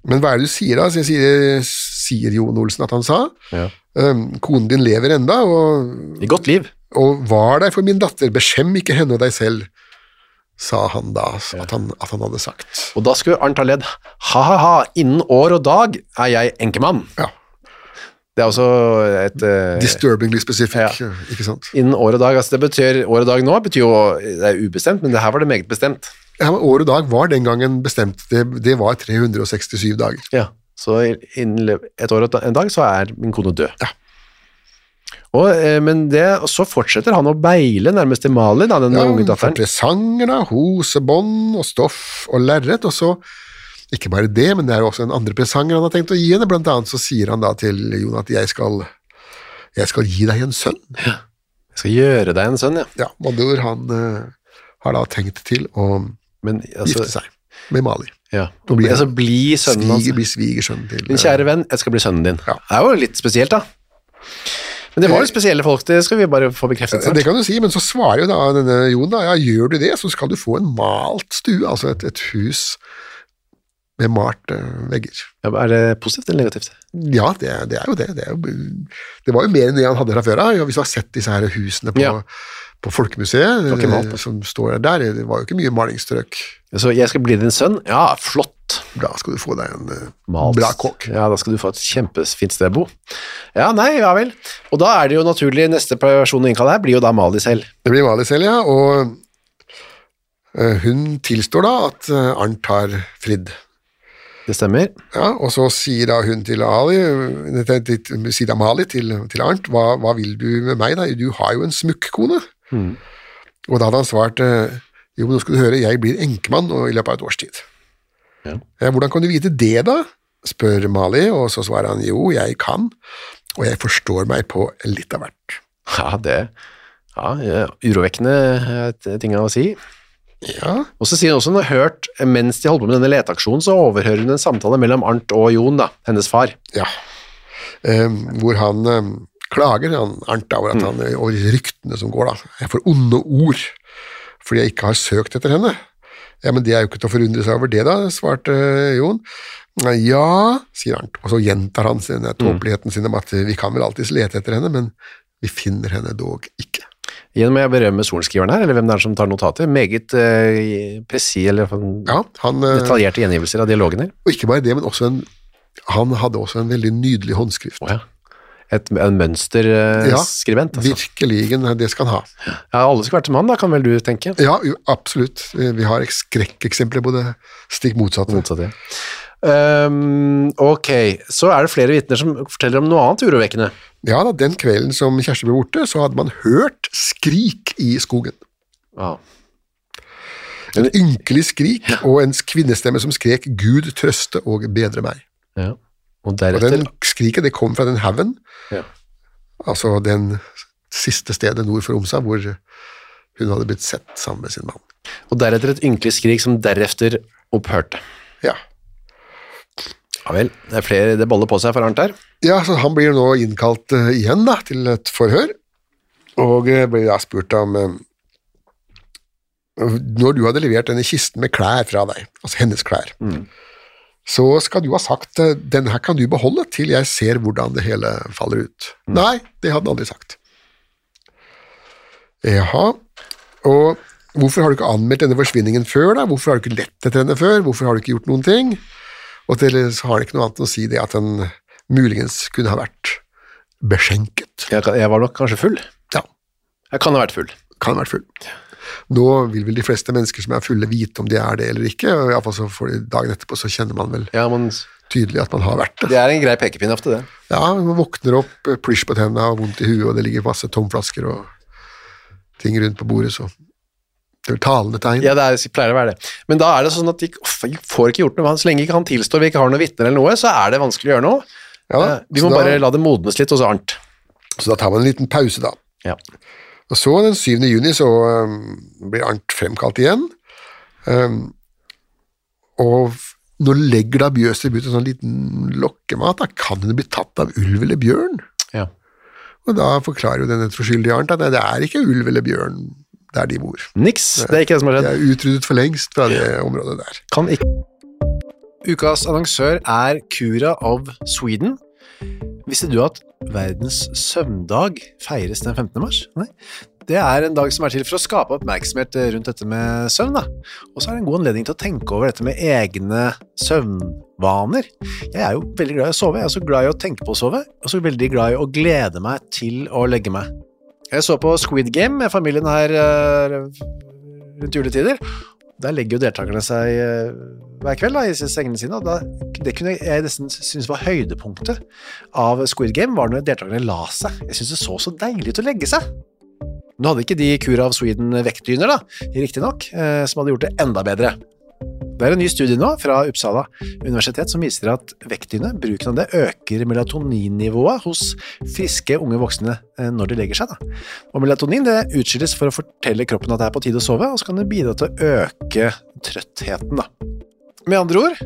Speaker 3: Men hva er det du sier da? Så sier, sier Jon Olsen at han sa.
Speaker 2: ja.
Speaker 3: «Ehm, konen din lever enda, og,
Speaker 2: I godt liv.
Speaker 3: og var deg for min datter, beskjem ikke henne og deg selv, sa han da at han, at han hadde sagt.
Speaker 2: Og da skulle Arnt ha ledd. Ha-ha-ha, innen år og dag er jeg enkemann.
Speaker 3: Ja,
Speaker 2: Det er også et eh,
Speaker 3: disturbingly specific,
Speaker 2: Ja.
Speaker 3: ikke sant?
Speaker 2: Innen år og dag. Altså det betyr, år og dag nå betyr jo det er ubestemt, men det her var det meget bestemt.
Speaker 3: Ja, men år og dag var den gangen bestemt, det, det var 367 dager.
Speaker 2: Ja. Så innen lø- et år og da- en dag så er min kone død.
Speaker 3: Ja.
Speaker 2: Og, eh, men det, og så fortsetter han å beile nærmest til Mali, da, den
Speaker 3: Ja,
Speaker 2: unge
Speaker 3: for
Speaker 2: datteren.
Speaker 3: presanger da, Mm. hosebånd og stoff og lerret, og så, ikke bare det, men det er jo også en andre presanger han har tenkt å gi henne, blant annet så sier han da til Jon at jeg skal, jeg skal gi deg en sønn.
Speaker 2: Jeg skal gjøre deg en sønn, ja.
Speaker 3: Ja, Mandur han eh, har da tenkt til å
Speaker 2: Men, altså,
Speaker 3: gifte seg med Mali.
Speaker 2: Ja.
Speaker 3: Da blir jeg
Speaker 2: altså, bli sønnen hans.
Speaker 3: Sviger, blir svigersønn til
Speaker 2: Min
Speaker 3: eh,
Speaker 2: kjære venn, jeg skal bli sønnen din.
Speaker 3: Ja.
Speaker 2: Det er jo litt spesielt, da. Men det var jo spesielle folk, det skal vi bare få bekreftet.
Speaker 3: Det
Speaker 2: snart.
Speaker 3: kan du si, men så svarer jo da denne Jon da, ja, gjør du det, så skal du få en malt stue, altså et, et hus med malt eh, vegger.
Speaker 2: Ja, men Er det positivt eller negativt?
Speaker 3: Ja, det, er- det er jo det. Det, er jo, det var jo mer enn det han hadde fra før av. Ja, hvis du har sett disse her husene på,
Speaker 2: Ja.
Speaker 3: på Folkemuseet,
Speaker 2: var ikke malt,
Speaker 3: eh,
Speaker 2: da.
Speaker 3: som står der, det var jo ikke mye malingsstrøk.
Speaker 2: Så jeg skal bli din sønn? Ja, flott.
Speaker 3: Da skal du få deg en eh,
Speaker 2: Malt.
Speaker 3: bra kokk.
Speaker 2: Ja, da skal du få et kjempefint sted å bo. Ja, nei, ja vel. Og da er det jo naturlig, neste person å innkalle her blir jo da Mali selv.
Speaker 3: Det blir Mali selv, ja, og eh, hun tilstår da at eh, Arnt har fridd.
Speaker 2: Det stemmer.
Speaker 3: Ja, og så sier da hun til Ali, eh, til- til- sier da Mali til, til Arnt, hva, hva vil du med meg da, du har jo en smukkkone. Og da hadde han svart, eh, jo, men nå skal du høre, jeg blir enkemann og i løpet av et års tid.
Speaker 2: Ja.
Speaker 3: Ja, hvordan kan du vite det da? spør Mali, og så svarer han, jo, jeg kan, og jeg forstår meg på litt av hvert.
Speaker 2: Ja, det ja, ja, urovekkende eh, t- ting å si.
Speaker 3: Ja,
Speaker 2: Og så sier hun også hun har hørt, eh, mens de holder på med denne leteaksjonen, så overhører hun en samtale mellom Arnt og Jon, da, hennes far.
Speaker 3: Ja. Ehm, hvor han ehm, klager, han Arnt, da,
Speaker 2: Mm.
Speaker 3: over, at han, eh, over ryktene som går, da. Jeg får onde ord fordi jeg ikke har søkt etter henne. Ja, men det er jo ikke til å forundre seg over det, da, svarte eh, Jon. Nei, Ja, sier Arnt, og så gjentar han
Speaker 2: Mm.
Speaker 3: denne tåpeligheten sin om at eh, vi kan vel alltids lete etter henne, men vi finner henne dog ikke.
Speaker 2: Igjen må jeg berømme sorenskriveren her, eller hvem det er som tar notater. Meget eh, presi, eller i hvert fall
Speaker 3: Ja, han, eh,
Speaker 2: detaljerte gjengivelser av dialogen her.
Speaker 3: Og ikke bare det, men også en Han hadde også en veldig nydelig håndskrift.
Speaker 2: Åja. Et, en
Speaker 3: Ja,
Speaker 2: mønsterskribent, altså.
Speaker 3: Virkeligen, eh, det skal han ha.
Speaker 2: Ja, alle skulle vært som han, da, kan vel du tenke?
Speaker 3: Ja, jo, absolutt. Eh, Vi vi har skrekkeksempler på det stikk motsatte.
Speaker 2: Motsatt, ja. Ehm, ok, så er det flere vitner som forteller om noe annet urovekkende.
Speaker 3: Ja da, den kvelden som Kjersti ble borte, så hadde man hørt skrik i skogen.
Speaker 2: Ja.
Speaker 3: En ynkelig skrik og en kvinnestemme som skrek 'Gud trøste og bedre meg'.
Speaker 2: ja. Og
Speaker 3: Og
Speaker 2: deretter
Speaker 3: den skriket det kom fra den haugen,
Speaker 2: ja.
Speaker 3: altså den siste stedet nord for Omsa, hvor hun hadde blitt sett sammen med sin mann.
Speaker 2: Og deretter et ynkelig skrik som deretter opphørte.
Speaker 3: Ja,
Speaker 2: Ja vel, det er flere, det baller på seg for Arnt her.
Speaker 3: ja så han blir nå innkalt eh, igjen da, til et forhør, og eh, blir da spurt om eh, når du hadde levert denne kisten med klær fra deg, altså hennes klær, så skal du ha sagt eh, den her kan du beholde til jeg ser hvordan det hele faller ut. Nei, det hadde han aldri sagt. Jaha, og hvorfor har du ikke anmeldt denne forsvinningen før da? Hvorfor har du ikke lett etter henne før? Hvorfor har du ikke gjort noen ting? Og til så har han ikke noe annet enn å si det at han muligens kunne ha vært beskjenket.
Speaker 2: Jeg, kan- jeg var nok kanskje full.
Speaker 3: Ja,
Speaker 2: Jeg kan ha vært full.
Speaker 3: kan ha vært full. Nå vil vel de fleste mennesker som er fulle vite om de er det eller ikke, og i alle fall så får de dagen etterpå så kjenner man vel
Speaker 2: Ja, men
Speaker 3: tydelig at man har vært det.
Speaker 2: det er en grei pekepinn ofte, det.
Speaker 3: Ja, man våkner opp, eh, plysj på tennene og vondt i huet, og det ligger masse tomflasker og ting rundt på bordet, så det er jo talende tegn.
Speaker 2: Ja, det er, pleier å være det. Men da er det sånn at de ikke- uff, vi får ikke gjort noe. Så lenge ikke han tilstår vi ikke har noen vitner eller noe, så er det vanskelig å gjøre noe.
Speaker 3: Ja da,
Speaker 2: Eh, Vi
Speaker 3: så
Speaker 2: må
Speaker 3: da-
Speaker 2: bare la det modnes litt hos Arnt.
Speaker 3: Så da tar man en liten pause, da.
Speaker 2: Ja.
Speaker 3: Og så den 7. juni så øhm, blir Arnt fremkalt igjen. Ehm, og f- nå legger da Bjøstrup ut en sånn liten lokkemat. Da kan hun bli tatt av ulv eller bjørn?
Speaker 2: Ja.
Speaker 3: Og da forklarer jo denne troskyldige Arnt at nei, det er ikke ulv eller bjørn der de bor.
Speaker 2: Niks, det er ikke det som har
Speaker 3: De
Speaker 2: skjedd.
Speaker 3: er utryddet for lengst fra det området der.
Speaker 2: Kan ikke. Ukas annonsør er Cura of Sweden. Visste du at verdens søvndag feires den 15. mars? Nei. Det er en dag som er til for å skape oppmerksomhet eh, rundt dette med søvn. Da. Og så er det en god anledning til å tenke over dette med egne søvnvaner. Jeg er jo veldig glad i å sove, jeg er også glad i å tenke på å sove, og så veldig glad i å glede meg til å legge meg. Jeg så på Squid Game med familien her eh, rundt juletider. Der legger jo deltakerne seg eh, hver kveld da, i sengene sine, og da, det kunne jeg nesten synes var høydepunktet av Squid Game, var når deltakerne la seg. Jeg synes det så så deilig ut å legge seg. Nå hadde ikke de Cura av Sweden vektdyner, da, riktignok, eh, som hadde gjort det enda bedre. Det er en ny studie nå fra Uppsala universitet som viser at vektdyne, bruken av det, øker melatoninnivået hos friske unge voksne eh, når de legger seg. Da. Og melatonin det utskilles for å fortelle kroppen at det er på tide å sove, og så kan det bidra til å øke trøttheten. Da. Med andre ord,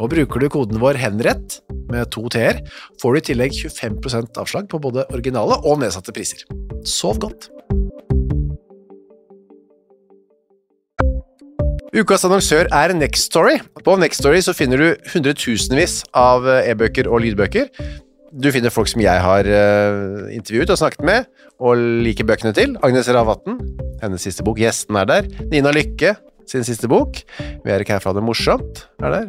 Speaker 2: Og bruker du koden vår HENRETT med to t-er, får du i tillegg 25 avslag på både originale og nedsatte priser. Sov godt! Ukas annonsør er Nextory. På Nextory så finner du hundretusenvis av eh, e-bøker og lydbøker. Du finner folk som jeg har eh, intervjuet og snakket med, og liker bøkene til. Agnes Ravatn, hennes siste bok. Gjesten er der. Nina Lykke, sin siste bok. Vi er ikke her for å ha det morsomt, er der.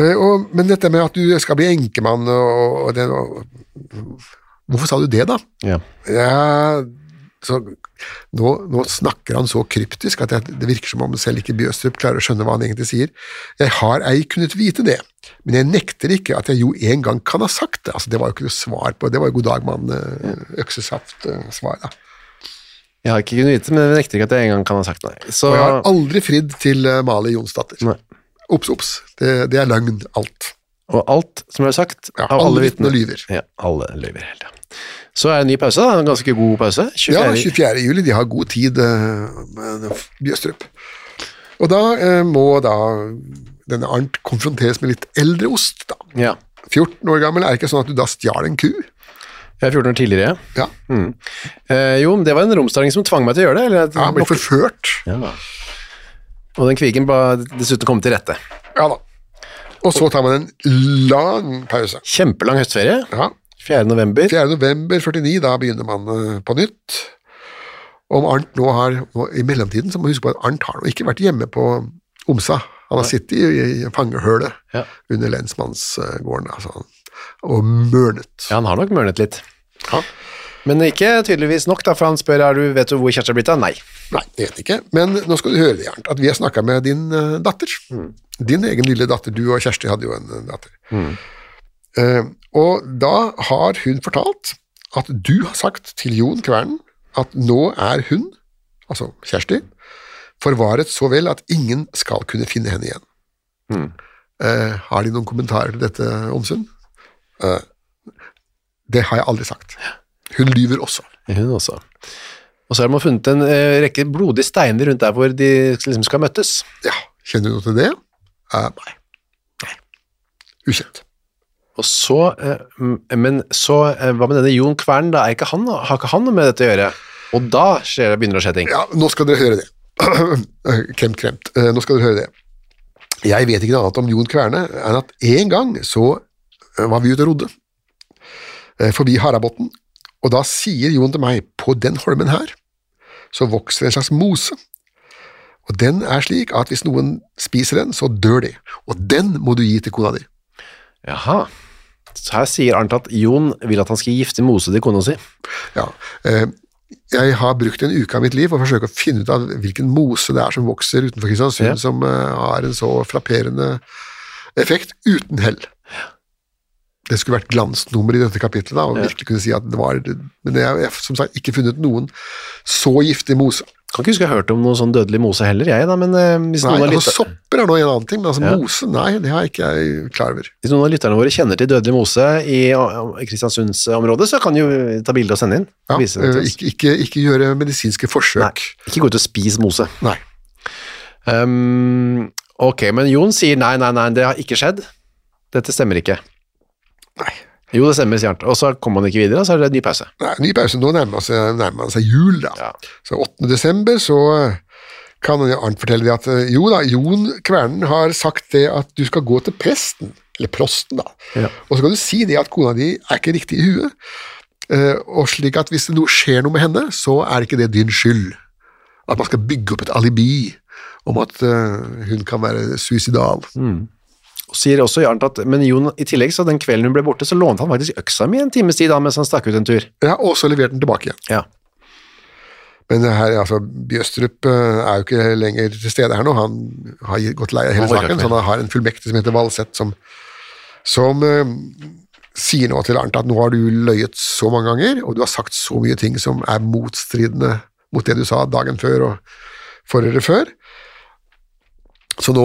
Speaker 3: Eh, og, men dette med at du skal bli enkemann og, og det og, Hvorfor sa du det, da?
Speaker 2: Ja.
Speaker 3: Ja, så, nå, nå snakker han så kryptisk at jeg, det virker som om selv ikke Bjøstrup klarer å skjønne hva han egentlig sier. Jeg har ei kunnet vite det, men jeg nekter ikke at jeg jo en gang kan ha sagt det. Altså, det var jo ikke noe svar på, det var jo god dag, mann, eh, øksesaft-svar, da.
Speaker 2: Jeg har ikke kunnet vite, men jeg nekter ikke at jeg engang kan ha sagt nei. Så,
Speaker 3: Og jeg har aldri fridd til eh, Mali Jonsdatter.
Speaker 2: nei.
Speaker 3: Ops, ops. Det, det er løgn, alt.
Speaker 2: Og alt som er sagt
Speaker 3: Ja,
Speaker 2: av
Speaker 3: alle
Speaker 2: alle vitner
Speaker 3: vitner lyver.
Speaker 2: Ja, alle lyver hele tiden. Så er det en ny pause, da. En ganske god pause. 24.
Speaker 3: Ja, 24. juli. De har god tid, eh, med Bjøstrup. Og da eh, må da denne Arnt konfronteres med litt eldre ost, da.
Speaker 2: Ja.
Speaker 3: 14 år gammel, er det ikke sånn at du da stjal en ku?
Speaker 2: Jeg er 14 år tidligere.
Speaker 3: Ja,
Speaker 2: Mm. Eh, jo, men det var en romsdaling som tvang meg til å gjøre det. Eller, at-
Speaker 3: ja Han blir forført.
Speaker 2: Ja. Og den kvigen ba dessuten komme til rette.
Speaker 3: Ja da. Og så tar man en lang pause.
Speaker 2: Kjempelang høstferie.
Speaker 3: Ja.
Speaker 2: 4. november.
Speaker 3: 4. november 49, da begynner man eh, på nytt. Om Arnt nå har, nå, I mellomtiden så må vi huske på at Arnt har nå ikke vært hjemme på Omsa. Han har sittet i, i fangehølet
Speaker 2: Ja.
Speaker 3: under lensmannsgården altså, og mørnet.
Speaker 2: Ja, han har nok mørnet litt. Men ikke tydeligvis nok, da, for han spør er du, vet du hvor Kjersti er blitt av. Nei.
Speaker 3: Nei, det vet jeg ikke. Men nå skal du høre det, Arnt, at vi har snakka med din eh, datter. Din egen lille datter. Du og Kjersti hadde jo en eh, datter. Eh, og da har hun fortalt at du har sagt til Jon Kvernen at nå er hun, altså Kjersti, forvaret så vel at ingen skal kunne finne henne igjen. Eh, har de noen kommentarer til dette, Omsund? Eh, det har jeg aldri sagt. Hun lyver også.
Speaker 2: Hun også. Og så har man funnet en eh, rekke blodige steiner rundt der hvor de liksom skal møttes.
Speaker 3: Ja, kjenner du noe til det? Eh, nei. Ukjent.
Speaker 2: Og så, eh, m- men så, eh, hva med denne Jon Kvern da, er ikke han, har ikke han noe med dette å gjøre? Og da skjer det, begynner det å skje ting.
Speaker 3: Ja, nå skal dere høre det. <clears throat> kremt, kremt. Eh, nå skal dere høre det. Jeg vet ikke noe annet om Jon Kverne enn at en gang så eh, var vi ute og rodde eh, forbi Harabotn, og da sier Jon til meg på den holmen her så vokser en slags mose, og den er slik at hvis noen spiser den, så dør de, og den må du gi til kona di.
Speaker 2: Jaha. Så her sier Arnt at Jon vil at han skal gifte Mose til kona si.
Speaker 3: Ja. eh, Jeg har brukt en uke av mitt liv på å forsøke å finne ut av hvilken mose det er som vokser utenfor Kristiansund,
Speaker 2: Ja.
Speaker 3: som eh, har en så frapperende effekt, uten hell. Det skulle vært glansnummer i dette kapitlet, da, og virkelig kunne si at det var Men jeg har som sagt ikke funnet noen så giftig mose.
Speaker 2: Kan ikke huske jeg har hørt om noen sånn dødelig Mose heller, jeg da, men eh, hvis,
Speaker 3: Nei,
Speaker 2: noen av
Speaker 3: altså
Speaker 2: lytter,
Speaker 3: Sopper er nå en annen ting, men altså
Speaker 2: Ja.
Speaker 3: mose, nei, det har jeg ikke jeg klar over.
Speaker 2: hvis noen av lytterne våre kjenner til dødelig Mose i, eh, i Kristiansundsområdet, så kan de jo ta bilde og sende inn.
Speaker 3: Ja,
Speaker 2: og vise det
Speaker 3: eh,
Speaker 2: til oss.
Speaker 3: ikke, ikke, ikke gjøre medisinske forsøk.
Speaker 2: Nei, ikke gå ut og spise Mose.
Speaker 3: Nei.
Speaker 2: Um, ok, men Jon sier nei, nei, nei, det har ikke skjedd. Dette stemmer ikke.
Speaker 3: Nei.
Speaker 2: Jo, det stemmer, sier Arnt. Og så kommer man ikke videre, og så er det en ny pause.
Speaker 3: Nei, ny pause. Nå nærmer man seg, nærmer man seg jul, da.
Speaker 2: Ja.
Speaker 3: Så 8. desember så eh, kan Arnt fortelle det at eh, jo da, Jon Kvernen har sagt det at du skal gå til presten, eller prosten da,
Speaker 2: Ja.
Speaker 3: og så kan du si det at kona di er ikke riktig i huet, eh, og slik at hvis det noe skjer noe med henne, så er det ikke det din skyld. At man skal bygge opp et alibi om at eh, hun kan være suicidal.
Speaker 2: Og sier også Arnt at, men Jon, i tillegg, så den kvelden hun ble borte, så lånte han faktisk øksa mi en times tid da, mens han stakk ut en tur.
Speaker 3: Ja, og så levert den tilbake igjen.
Speaker 2: Ja.
Speaker 3: Men det her, altså, Bjøstrup eh, er jo ikke lenger til stede her nå. Han har gi- gått lei av hele
Speaker 2: Han orker
Speaker 3: saken,
Speaker 2: ikke
Speaker 3: så han har en fullmektig som heter Valseth, som, som eh, sier nå til Arnt at nå har du løyet så mange ganger, og du har sagt så mye ting som er motstridende mot det du sa dagen før og forrige før. Så nå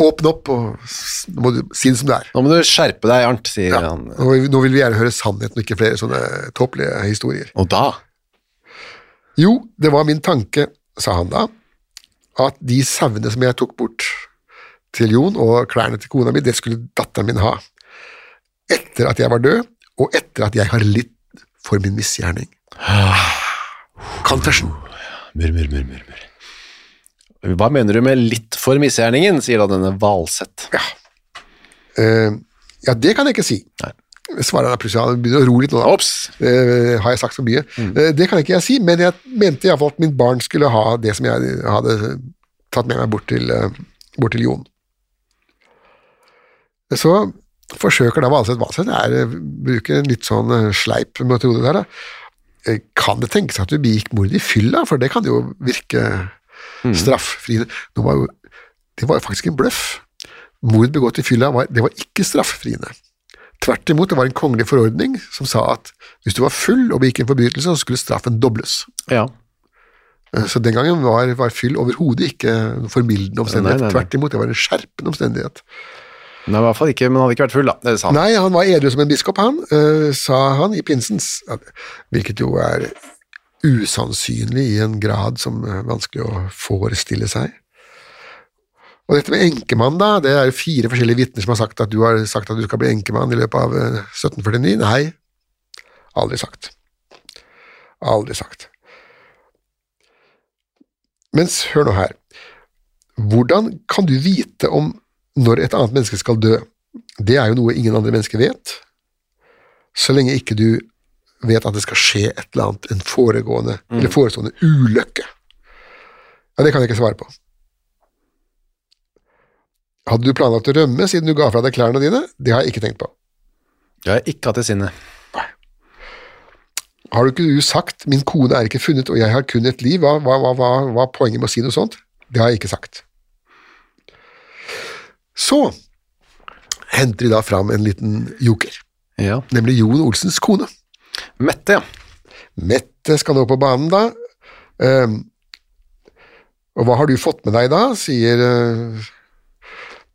Speaker 3: åpne opp og s- nå må du si det som det er.
Speaker 2: Nå må du skjerpe deg, Arnt, sier
Speaker 3: Ja.
Speaker 2: han.
Speaker 3: Nå vil- nå vil vi gjerne høre sannheten, og ikke flere sånne tåpelige historier.
Speaker 2: Og da?
Speaker 3: Jo, det var min tanke, sa han da, at de sauene som jeg tok bort til Jon, og klærne til kona mi, det skulle datteren min ha. Etter at jeg var død, og etter at jeg har litt for min misgjerning. Confession.
Speaker 2: Murmur, murmur, murmur. Hva mener du med litt for misgjerningen, sier da denne Valseth.
Speaker 3: Eh, ja, det kan jeg ikke si.
Speaker 2: Nei.
Speaker 3: Svarer han da plutselig, han begynner å ro litt nå. da.
Speaker 2: Ops! Mm.
Speaker 3: Eh, har jeg sagt for mye? Eh, det kan ikke jeg si, men jeg mente iallfall at min barn skulle ha det som jeg hadde tatt med meg bort til eh, bort til Jon. Så forsøker da Valseth Valseth er, eh, bruker en litt sånn eh, sleip metode der. Da. Eh, Kan det tenkes at du begikk mord i fylla, for det kan jo virke
Speaker 2: Mm.
Speaker 3: strafffriende. Nå var jo, det var jo faktisk en bløff. Mord begått i fylla var, det var ikke strafffriende. Tvert imot, det var en kongelig forordning som sa at hvis du var full og begikk en forbrytelse, så skulle straffen dobles. Eh,
Speaker 2: Ja.
Speaker 3: Så den gangen var, var fyll overhodet ikke en formildende omstendighet.
Speaker 2: Nei, nei, nei.
Speaker 3: Tvert imot, det var en skjerpende omstendighet.
Speaker 2: Nei, i hvert fall ikke, men han hadde ikke vært full, da. Det sa han.
Speaker 3: Nei, han var edru som en biskop, han, eh, sa han i pinsens, hvilket jo er usannsynlig i en grad som er vanskelig å forestille seg. Og dette med enkemann, da, det er jo fire forskjellige vitner som har sagt at du har sagt at du skal bli enkemann i løpet av eh, 1749. Nei, aldri sagt. Aldri sagt. Mens, hør nå her, hvordan kan du vite om når et annet menneske skal dø? Det er jo noe ingen andre mennesker vet, så lenge ikke du vet at det skal skje et eller annet, en foregående eller forestående ulykke. Ja, det kan jeg ikke svare på. Hadde du planlagt å rømme siden du ga fra deg klærne dine? Det har jeg ikke tenkt på.
Speaker 2: Jeg har ikke hatt det sinnet.
Speaker 3: Har du ikke du sagt 'min kone er ikke funnet og jeg har kun et liv'? Hva, hva, hva, hva, hva er poenget med å si noe sånt? Det har jeg ikke sagt. Så henter de da fram en liten joker,
Speaker 2: Ja.
Speaker 3: nemlig Jon Olsens kone.
Speaker 2: Mette, ja.
Speaker 3: Mette skal nå på banen, da. Ehm, og hva har du fått med deg da, sier uh,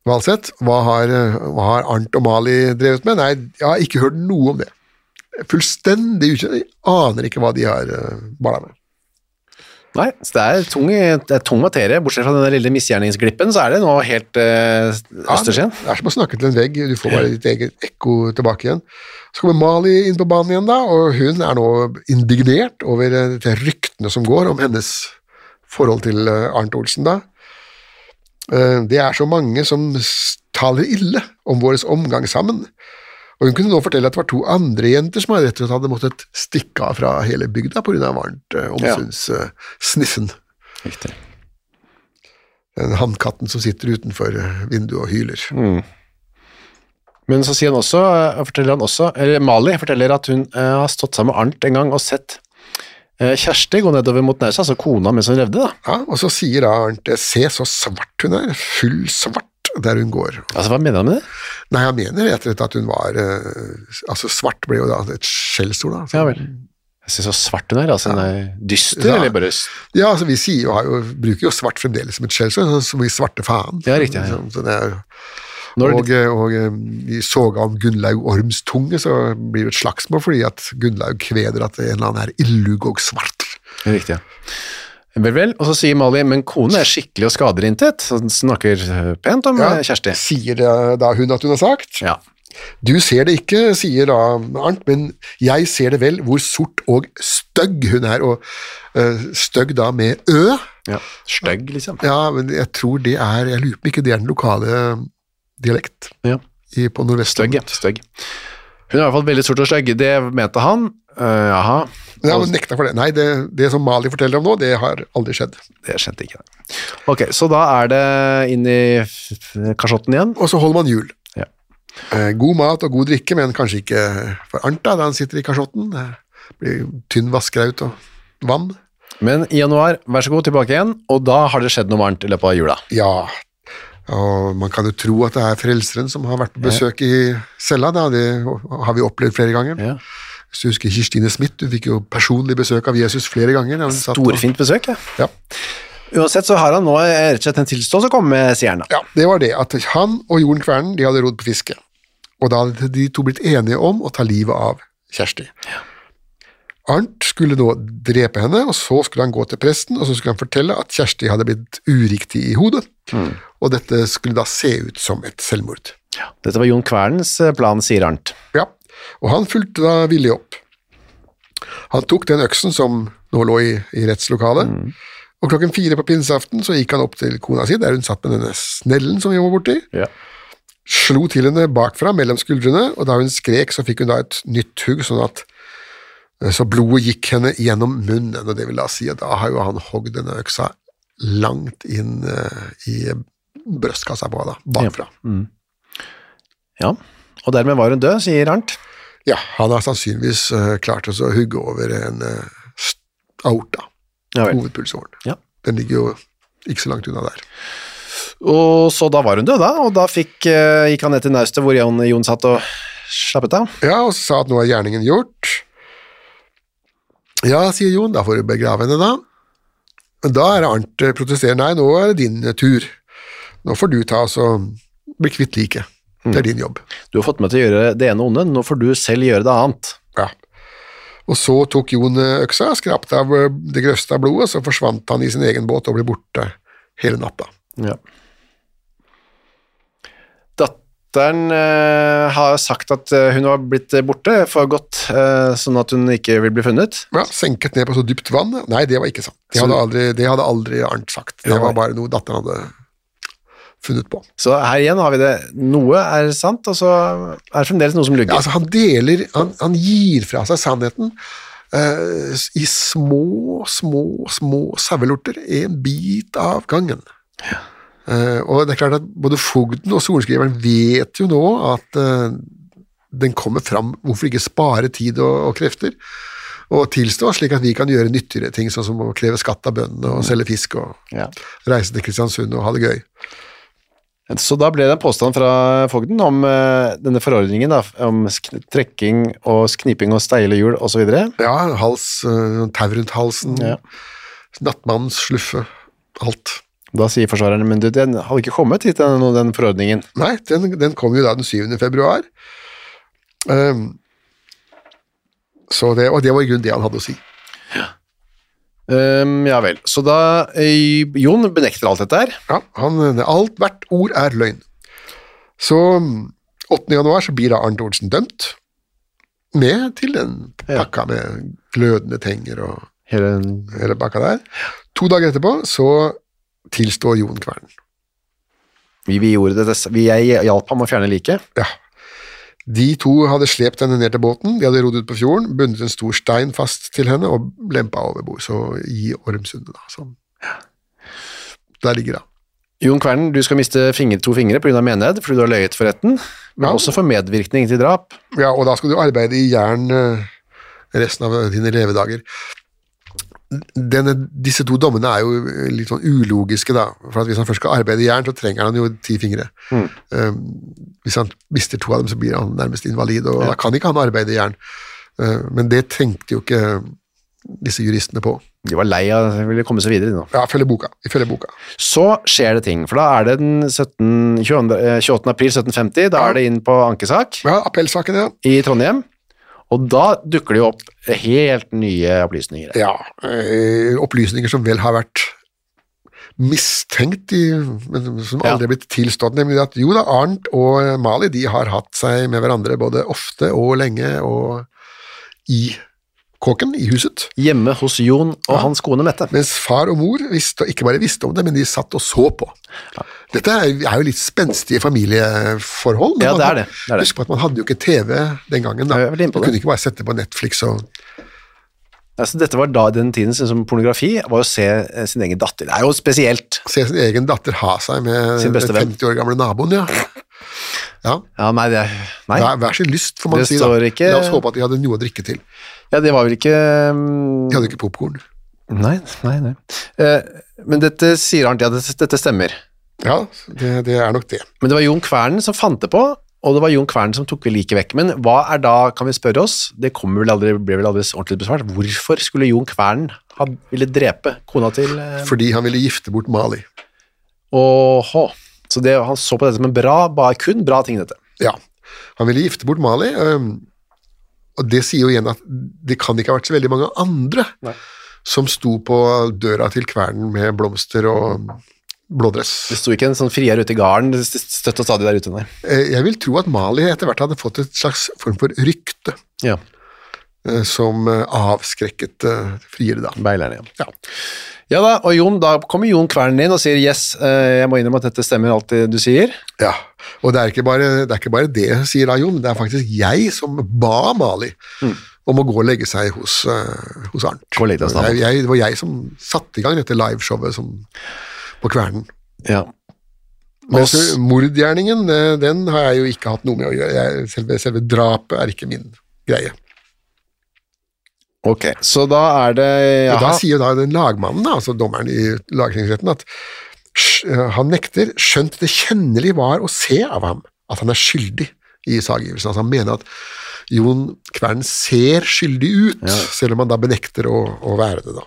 Speaker 3: Valseth. Hva har, eh, hva har Arnt og Mali drevet med? Nei, jeg har ikke hørt noe om det. Fullstendig ukjent. Jeg aner ikke hva de har uh, balla med.
Speaker 2: Nei, så det er tung, det er tung materie. Bortsett fra den lille misgjerningsglippen, så er det nå helt eh, Østersjøen.
Speaker 3: Det er som å snakke til en vegg, du får bare ditt eget ekko tilbake igjen. Så kommer Mali inn på banen igjen, da, og hun er nå indignert over eh, disse ryktene som går om hennes forhold til eh, Arnt Olsen, da. Eh, Det er så mange som s- taler ille om vår omgang sammen. Og hun kunne nå fortelle at det var to andre jenter som rett og slett hadde måttet stikke av fra hele bygda pga. varmt eh, omsynssniffen.
Speaker 2: Riktig.
Speaker 3: Den hannkatten som sitter utenfor eh, vinduet og hyler.
Speaker 2: Mm. Men så sier han også, eh, forteller han også, eller Mali forteller at hun eh, har stått sammen med Arnt en gang og sett eh, Kjersti gå nedover mot Nausa, altså kona mens hun levde, da.
Speaker 3: Ja, og så sier da Arnt Se så svart hun er, full svart der hun går.
Speaker 2: Altså, hva mener han med det?
Speaker 3: Nei, han mener rett og slett at hun var eh, Altså, svart ble jo da et skjellsord, da.
Speaker 2: Ja vel. Jeg synes så svart hun er, altså hun er dyster,
Speaker 3: Ja.
Speaker 2: eller bare s-
Speaker 3: Ja, altså, vi sier jo, har jo, bruker jo svart fremdeles som et skjellsord, sånn som i svarte faen.
Speaker 2: Ja, riktig, ja, ja.
Speaker 3: Sånn, så det er,
Speaker 2: Nå er det
Speaker 3: og, eh, og eh, i soga om Gunnlaug Orms tunge, så blir det et slagsmål fordi at Gunnlaug kveder at en eller annen er illug og svart.
Speaker 2: Riktig, ja. Vel, vel, og så sier Mali, men kone er skikkelig og skader intet, så han snakker eh, pent om eh, Kjersti.
Speaker 3: Sier eh, da hun at hun har sagt.
Speaker 2: Ja.
Speaker 3: Du ser det ikke, sier da Arnt, men jeg ser det vel hvor sort og stygg hun er, og eh, stygg da med ø.
Speaker 2: ja. Støgg, liksom.
Speaker 3: Ja, men jeg tror det er, jeg lurer på om ikke det er den lokale eh, dialekt
Speaker 2: Ja.
Speaker 3: i, på
Speaker 2: Støgg,
Speaker 3: Nordvestlandet.
Speaker 2: ja. Støgg. Hun er i hvert fall veldig sort og støgg, det mente han. Eh, jaha.
Speaker 3: Ja, men nekta for det. Nei, det, det som Mali forteller om nå, det har aldri skjedd.
Speaker 2: Det skjønte ikke det. Ok, så da er det inn i f- f- kasjotten igjen.
Speaker 3: Og så holder man jul.
Speaker 2: Ja.
Speaker 3: Eh, God mat og god drikke, men kanskje ikke for Arnt da, da han sitter i kasjotten. Eh, Blir tynn vaskeraut og vann.
Speaker 2: Men i januar, vær så god, tilbake igjen, og da har det skjedd noe varmt i løpet av jula.
Speaker 3: Ja, og man kan jo tro at det er frelseren som har vært på besøk i cella, da. det har vi opplevd flere ganger.
Speaker 2: Ja.
Speaker 3: Hvis du husker Kirstine Smith, du fikk jo personlig besøk av Jesus flere ganger. da Hun satt og-
Speaker 2: Storfint besøk, ja.
Speaker 3: Ja.
Speaker 2: Uansett så har han nå eh, rett og slett en tilståelse å komme med, sier han da.
Speaker 3: ja, det var det, at han og Jorunn Kvernen de hadde rodd på fiske, og da hadde de to blitt enige om å ta livet av Kjersti. Arnt skulle nå drepe henne, og så skulle han gå til presten, og så skulle han fortelle at Kjersti hadde blitt uriktig i hodet, og dette skulle da se ut som et selvmord.
Speaker 2: Dette var Jon Kvernens eh, plan, sier Arnt.
Speaker 3: Ja, og han fulgte da villig opp. Han tok den øksen som nå lå i, i rettslokalet, og klokken fire på pinseaften så gikk han opp til kona si, der hun satt med denne snellen som vi var borti, slo til henne bakfra mellom skuldrene, og da hun skrek så fikk hun da et nytt hugg, sånn at eh, så blodet gikk henne gjennom munnen, og det vil da si at da har jo han hogd denne øksa langt inn eh, i brøstkassa på henne, da, bakfra.
Speaker 2: Ja, og dermed var hun død, sier Arnt.
Speaker 3: Ja, han har sannsynligvis eh, klart oss å hugge over en eh, st- aorta,
Speaker 2: Ja vel.
Speaker 3: hovedpulsåren.
Speaker 2: Ja.
Speaker 3: Den ligger jo ikke så langt unna der.
Speaker 2: Og så da var hun død, da, og da fikk, eh, gikk han ned til naustet hvor Jon, Jon satt og slappet av.
Speaker 3: Ja, og så sa at nå er gjerningen gjort. Ja, sier Jon, da får du begrave henne da. Men Da er det Arnt eh, protesterer, nei, nå er det din eh, tur. Nå får du ta oss og bli kvitt liket.
Speaker 2: Mm.
Speaker 3: Det er din jobb.
Speaker 2: Du har fått meg til å gjøre det ene onde, nå får du selv gjøre det annet.
Speaker 3: Ja. Og så tok Jon eh, øksa, skrapte av eh, det grøvste av blodet, så forsvant han i sin egen båt og ble borte hele natta.
Speaker 2: Ja. Datteren eh, har sagt at eh, hun har blitt eh, borte for godt, eh, sånn at hun ikke vil bli funnet.
Speaker 3: Ja, senket ned på så dypt vann. Nei, det var ikke sant. Det hadde aldri, det hadde aldri Arnt sagt. Det
Speaker 2: Ja,
Speaker 3: var
Speaker 2: nei.
Speaker 3: bare noe datteren hadde funnet på.
Speaker 2: Så her igjen har vi det. Noe er sant, og så er det fremdeles noe som
Speaker 3: Ja,
Speaker 2: lugger.
Speaker 3: altså han deler, han, han gir fra seg sannheten eh, i små, små, små sauelorter, en bit av gangen. Eh, og det er klart at både fogden og sorenskriveren vet jo nå at eh, den kommer fram, hvorfor ikke spare tid og, og krefter, og tilstå slik at vi kan gjøre nyttigere ting, sånn som å kreve skatt av bøndene og selge fisk og
Speaker 2: Ja.
Speaker 3: reise til Kristiansund og ha det gøy.
Speaker 2: Så da ble det en påstand fra fogden om eh, denne forordningen da, om sk- trekking og kniping og steile hjul osv.
Speaker 3: Ja, hals, eh, tau rundt halsen,
Speaker 2: Ja.
Speaker 3: nattmannens sluffe, alt.
Speaker 2: Da sier forsvarerne men du, den hadde ikke kommet hit, den, den forordningen.
Speaker 3: Nei, den, den kom jo da den 7. februar. Ehm, så det, og det var i grunnen det han hadde å si.
Speaker 2: Um, ja vel. Så da eh, Jon benekter alt dette her.
Speaker 3: Ja, han, alt hvert ord er løgn. Så mm, 8. januar så blir da Arnt Olsen dømt, med til den
Speaker 2: Ja.
Speaker 3: pakka med glødende tenger og
Speaker 2: Hele,
Speaker 3: hele pakka der. To dager etterpå så tilstår Jon Kvern.
Speaker 2: vi, vi gjorde det, dess- vi, jeg hjalp ham å fjerne liket.
Speaker 3: Ja. De to hadde slept henne ned til båten, de hadde rodd ut på fjorden, bundet en stor stein fast til henne og lempa over bord, så i Ormsundet, da. Sånn. Der ligger hun.
Speaker 2: Jon Kvernen, du skal miste finger, to fingre pga. mened fordi du har løyet for retten, men
Speaker 3: Ja.
Speaker 2: også for medvirkning til drap.
Speaker 3: Ja, og da skal du arbeide i jern eh, resten av dine levedager. Denne, disse to dommene er jo litt sånn ulogiske, da. For at hvis han først skal arbeide i jern, så trenger han jo ti fingre. Eh, hvis han mister to av dem, så blir han nærmest invalid, og da kan ikke han arbeide i jern. Eh, men det tenkte jo ikke disse juristene på.
Speaker 2: De var lei av de ville komme seg videre. de nå.
Speaker 3: Ja, følge boka. Ifølge boka.
Speaker 2: Så skjer det ting, for da er det den 17, 22, eh, 28. april 1750. Da er det inn på ankesak
Speaker 3: Ja, appellsaken, ja.
Speaker 2: i Trondheim, og da dukker det jo opp helt nye opplysninger.
Speaker 3: ja eh, opplysninger som vel har vært mistenkt, i, men som
Speaker 2: Ja.
Speaker 3: aldri er blitt tilstått, nemlig at jo da, Arnt og Mali de har hatt seg med hverandre både ofte og lenge og i kåken, i huset.
Speaker 2: Hjemme hos Jon og hans kone Mette.
Speaker 3: Mens far og mor visste, ikke bare visste om det, men de satt og så på. Dette er, er jo litt spenstige familieforhold. men
Speaker 2: Ja,
Speaker 3: man
Speaker 2: det er
Speaker 3: hadde-
Speaker 2: det, det er det.
Speaker 3: Husk på at man hadde jo ikke TV den gangen. Da.
Speaker 2: Jeg er veldig inne på
Speaker 3: Du
Speaker 2: det.
Speaker 3: kunne ikke bare sette på Netflix og
Speaker 2: Altså, dette var da den tiden sånn som pornografi var å se eh, sin egen datter. Det er jo spesielt.
Speaker 3: se sin egen datter ha seg med
Speaker 2: Sin
Speaker 3: den
Speaker 2: beste venn.
Speaker 3: 50 år gamle naboen, ja. ja.
Speaker 2: Ja, nei, det, er- nei.
Speaker 3: Hver, hver sin lyst, får man
Speaker 2: Det
Speaker 3: si. Da.
Speaker 2: står ikke-
Speaker 3: La oss håpe at de hadde noe å drikke til.
Speaker 2: Ja, det var vel ikke mm,
Speaker 3: De hadde ikke popkorn.
Speaker 2: Nei, nei, nei. Eh, men dette sier Arnt, ja, dette, dette stemmer.
Speaker 3: Ja, det, det er nok det.
Speaker 2: Men det var Jon Kvernen som fant det på, og det var Jon Kvernen som tok liket vekk. Men hva er da, kan vi spørre oss, det kommer vel aldri, blir vel aldri ordentlig besvart, hvorfor skulle Jon Kvernen ha, ville drepe kona til eh,
Speaker 3: Fordi han ville gifte bort Mali.
Speaker 2: Åhå. Så det, han så på dette som en bra, bare kun bra ting, dette.
Speaker 3: Ja, han ville gifte bort Mali, øhm, og det sier jo igjen at det kan ikke ha vært så veldig mange andre som sto på døra til kvernen med blomster og blådress.
Speaker 2: Det sto ikke en sånn frier ute i garden, det st- støtt og stadig der ute, nei.
Speaker 3: Eh, Jeg vil tro at Mali etter hvert hadde fått et slags form for rykte.
Speaker 2: Ja,
Speaker 3: eh, som eh, avskrekket eh, friere da.
Speaker 2: beilerne, ja.
Speaker 3: Ja.
Speaker 2: Ja da, og Jon, da kommer Jon Kvernen inn og sier yes, eh, jeg må innrømme at dette stemmer alt det du sier.
Speaker 3: ja. Og det er, ikke bare, det er ikke bare det, sier da Jon, det er faktisk jeg som ba Mali om å gå og legge seg hos, eh, hos Arnt.
Speaker 2: Mm. Gå og legge deg hos Arnt.
Speaker 3: Jeg- jeg- Det var jeg som satte i gang dette liveshowet som, på Kvernen.
Speaker 2: Ja.
Speaker 3: Mens mordgjerningen, eh, den har jeg jo ikke hatt noe med å gjøre. Jeg, selve, selve drapet er ikke min greie.
Speaker 2: Ok, så da er det
Speaker 3: Og da
Speaker 2: jaha.
Speaker 3: sier jo da den lagmannen, da, altså dommeren i lagtingsretten, at sj- eh, han nekter, skjønt det kjennelig var å se av ham at han er skyldig i sagivelsen. Altså han mener at Jon Kvern ser skyldig ut, selv om han da benekter å, å være det, da.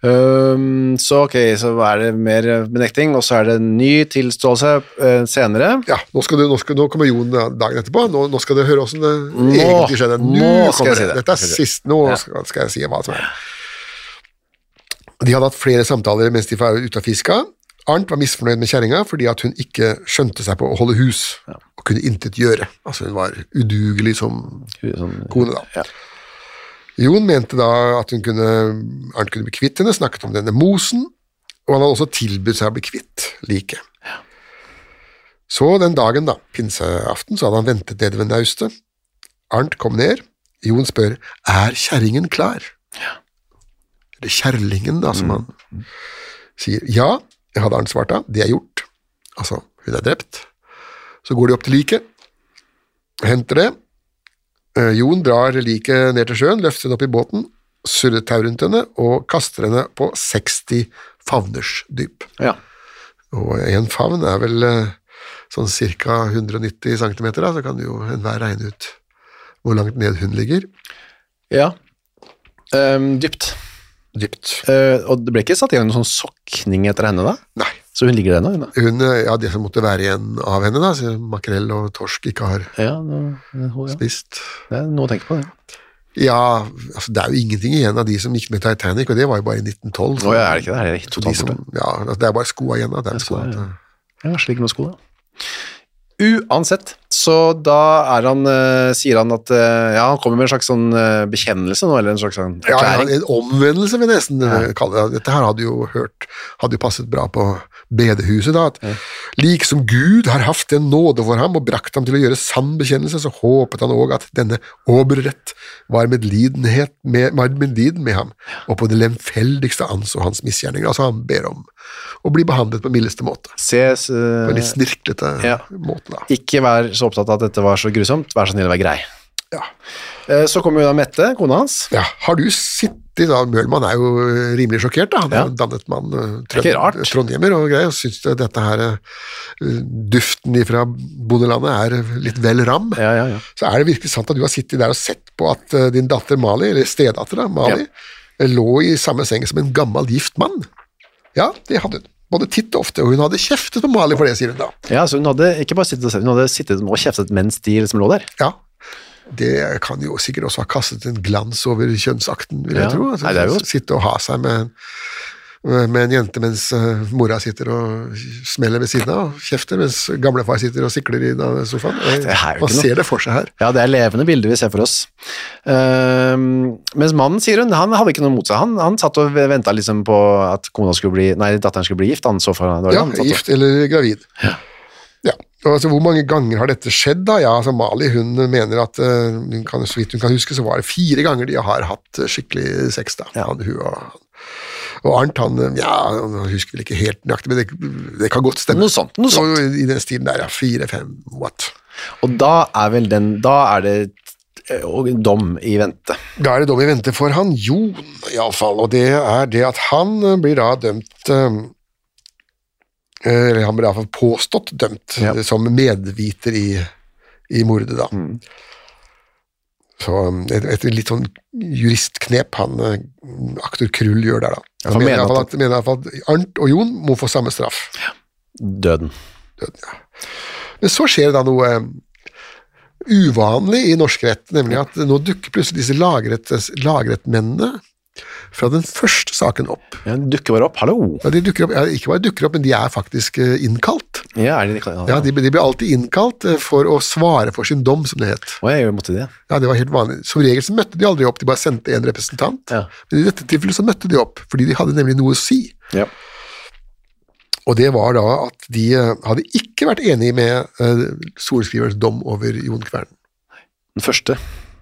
Speaker 2: Øhm, så ok, så er det mer benekting, og så er det en ny tilståelse eh, senere.
Speaker 3: Ja, nå, skal du, nå, skal, nå kommer Jon da- dagen etterpå. Nå, nå skal dere høre åssen det egentlig skjedde. Nå,
Speaker 2: nå skal
Speaker 3: kommer
Speaker 2: jeg
Speaker 3: det.
Speaker 2: si det.
Speaker 3: Dette er sist. Nå
Speaker 2: Ja.
Speaker 3: skal, skal jeg si hva som er. De hadde hatt flere samtaler mens de var ute og fiska. Arnt var misfornøyd med kjerringa fordi at hun ikke skjønte seg på å holde hus og kunne intet gjøre. Altså Hun var udugelig som
Speaker 2: Sånn-
Speaker 3: kone, da.
Speaker 2: Ja.
Speaker 3: Jon mente da at hun kunne, Arnt kunne bli kvitt henne, snakket om denne mosen, og han hadde også tilbudt seg å bli kvitt liket. Så den dagen, da, pinseaften, så hadde han ventet nede ved naustet. Arnt kom ned. Jon spør er kjerringen klar. Eller kjerlingen, da, som han sier. Ja, hadde Arnt svart da, det er gjort. Altså, hun er drept. Så går de opp til liket, henter det. Eh, Jon drar liket ned til sjøen, løfter henne opp i båten, surrer tau rundt henne og kaster henne på 60 favners dyp.
Speaker 2: Ja.
Speaker 3: Og en favn er vel eh, sånn ca. 190 cm, da, så kan jo enhver regne ut hvor langt ned hun ligger.
Speaker 2: ja. Øhm, dypt.
Speaker 3: Dypt.
Speaker 2: Eh, og det ble ikke satt igjen noen sånn sokning etter henne da?
Speaker 3: Nei.
Speaker 2: Så hun ligger der nå? Hun, da?
Speaker 3: Hun, eh, ja, det som måtte være igjen av henne, da, så makrell og torsk ikke har
Speaker 2: ja, nå- ja.
Speaker 3: spist.
Speaker 2: Det er noe å tenke på, det.
Speaker 3: Ja, altså, det er jo ingenting igjen av de som gikk med Titanic, og det var jo bare i 1912.
Speaker 2: Å ja, er det ikke det? Er det
Speaker 3: De
Speaker 2: totalt
Speaker 3: som,
Speaker 2: borte?
Speaker 3: ja, altså, det er bare skoa igjen av dem.
Speaker 2: skoa,
Speaker 3: sånn at,
Speaker 2: ja.
Speaker 3: eh,
Speaker 2: Ja, Kanskje det ikke noe sko, da. Uansett, så da er han, eh, sier han at eh, ja, han kommer med en slags sånn eh, bekjennelse nå, eller en slags sånn
Speaker 3: Ja, ja,
Speaker 2: erklæring.
Speaker 3: en omvendelse vil jeg nesten eh, kalle det. Dette her hadde jo hørt, hadde jo passet bra på bedehuset da, at liksom Gud har haft en nåde for ham og brakt ham til å gjøre sann bekjennelse, så håpet han også at denne oberrett var medlidenhet med, var medliden med ham, og på det lemfeldigste anså hans misgjerninger. Altså han ber om å bli behandlet på mildeste måte,
Speaker 2: Ses, eh,
Speaker 3: på en litt snirklete
Speaker 2: ja.
Speaker 3: måte da.
Speaker 2: ikke vær så opptatt av at dette var så grusomt, vær så snill å være grei.
Speaker 3: Ja.
Speaker 2: Eh, Så kommer jo da Mette, kona hans.
Speaker 3: Ja, har du sittet da, Mølmann er jo eh, rimelig sjokkert da, han er
Speaker 2: Ja.
Speaker 3: jo en dannet mann, eh,
Speaker 2: ikke rart.
Speaker 3: trondhjemmer og greier, og synes det- dette her, eh, duften fra bondelandet er litt vel ram.
Speaker 2: Ja, ja, ja.
Speaker 3: Så er det virkelig sant at du har sittet der og sett på at eh, din datter Mali, eller stedatter da, Mali, lå i samme seng som en gammel gift mann. Ja, det hadde hun. Både titt og ofte, og hun hadde kjeftet på Mali for det, sier hun da.
Speaker 2: ja så hun hadde ikke bare sittet og sett, hun hadde sittet og kjeftet mens de liksom lå der.
Speaker 3: Ja, det kan jo sikkert også ha kastet en glans over kjønnsakten, vil
Speaker 2: Ja.
Speaker 3: jeg tro. Altså,
Speaker 2: Nei, det er jo-
Speaker 3: Sitte og ha seg med, en- med en jente mens eh, mora sitter og smeller ved siden av, og kjefter, mens gamlefar sitter og sikler i da- sofaen.
Speaker 2: Det er jo
Speaker 3: Man
Speaker 2: ikke noe.
Speaker 3: ser det for seg her.
Speaker 2: Ja, det er levende bilder vi ser for oss. Ehm, mens mannen, sier hun, han hadde ikke noe mot seg. Han, han satt og venta liksom på at kona skulle bli, nei, datteren skulle bli gift. Han så for det var det
Speaker 3: Ja,
Speaker 2: han satt og-
Speaker 3: gift eller gravid. Ja. Og altså, hvor mange ganger har dette skjedd? da? Ja, altså Mali hun mener at eh, hun kan, så vidt hun kan huske, så var det fire ganger de har hatt eh, skikkelig sex. da. Han, hun og, han. og Arnt han eh, ja, han husker vel ikke helt nøyaktig, men det, det kan godt stemme.
Speaker 2: Noe sånt, noe sånt.
Speaker 3: Og I den stilen der, ja. Fire-fem, what?
Speaker 2: Og da er vel den Da er det eh, og en dom i vente.
Speaker 3: Da er det dom i vente for han Jon, iallfall, og det er det at han eh, blir da dømt eh, Eller han blir iallfall påstått dømt
Speaker 2: Ja.
Speaker 3: eh, som medviter i, i mordet, da.
Speaker 2: Mm.
Speaker 3: Så um, et, et litt sånn juristknep han eh, aktor Krull gjør der, da.
Speaker 2: han
Speaker 3: Han
Speaker 2: mener
Speaker 3: mener iallfall
Speaker 2: at-
Speaker 3: at, mener i hvert fall at Arnt og Jon må få samme straff.
Speaker 2: Døden.
Speaker 3: Men så skjer det da noe eh, uvanlig i norsk rett, nemlig at nå dukker plutselig disse lagrett, lagrettmennene fra den første saken opp.
Speaker 2: Ja, den dukker bare opp. Hallo!
Speaker 3: Ja, de dukker opp ja, ikke bare dukker opp, men de er faktisk eh, innkalt.
Speaker 2: Ja, er det, ja,
Speaker 3: Ja, de, de blir alltid innkalt eh, for å svare for sin dom, som det het.
Speaker 2: Å, jeg måtte det.
Speaker 3: Ja, det var helt vanlig. Som regel så møtte de aldri opp, de bare sendte en representant.
Speaker 2: Ja.
Speaker 3: Men i dette tilfellet så møtte de opp, fordi de hadde nemlig noe å si.
Speaker 2: Ja.
Speaker 3: Og det var da at de eh, hadde ikke vært enige med eh, sorenskrivers dom over Jon Kvern.
Speaker 2: Den første.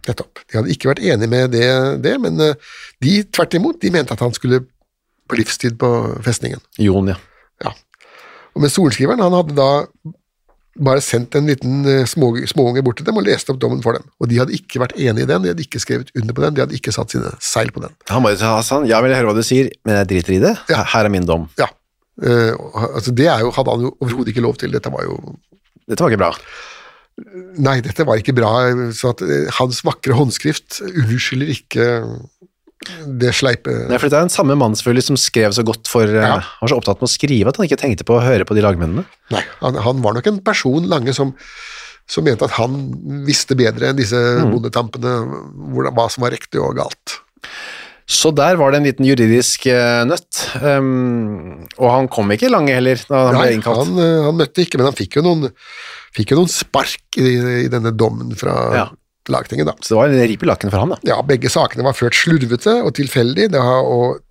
Speaker 3: Nettopp. De hadde ikke vært enige med det, det men eh, de tvert imot, de mente at han skulle på livstid på festningen.
Speaker 2: Jon, ja.
Speaker 3: Ja. Og med sorenskriveren, han hadde da bare sendt en liten eh, små, småunge bort til dem og leste opp dommen for dem. Og de hadde ikke vært enig i den, de hadde ikke skrevet under på den, de hadde ikke satt sine seil på den.
Speaker 2: Han bare sa sånn, ja, vil jeg høre hva du sier, men jeg driter i det.
Speaker 3: Ja.
Speaker 2: Her er min dom.
Speaker 3: Ja, Eh, og- altså Det er jo, hadde han jo overhodet ikke lov til, dette var jo
Speaker 2: Dette var ikke bra.
Speaker 3: Nei, dette var ikke bra. Så at eh, hans vakre håndskrift unnskylder ikke det sleipe
Speaker 2: Nei, for det er den samme mannsfølge som skrev så godt for, eh,
Speaker 3: Ja.
Speaker 2: var så opptatt med å skrive at han ikke tenkte på å høre på de lagmennene.
Speaker 3: Nei, han, han var nok en person, Lange, som, som mente at han visste bedre enn disse
Speaker 2: Mm.
Speaker 3: bondetampene hvordan, hva som var riktig og galt.
Speaker 2: Så der var det en liten juridisk eh, nøtt. Um, og han kom ikke lange heller da han
Speaker 3: Nei,
Speaker 2: ble innkalt.
Speaker 3: han, eh, han møtte ikke, men han fikk jo noen, fikk jo noen spark i, i denne dommen fra
Speaker 2: Ja.
Speaker 3: lagtinget, da.
Speaker 2: Så det var en rip i lakken for han, da.
Speaker 3: Ja, begge sakene var ført slurvete og tilfeldig. Det, har, og,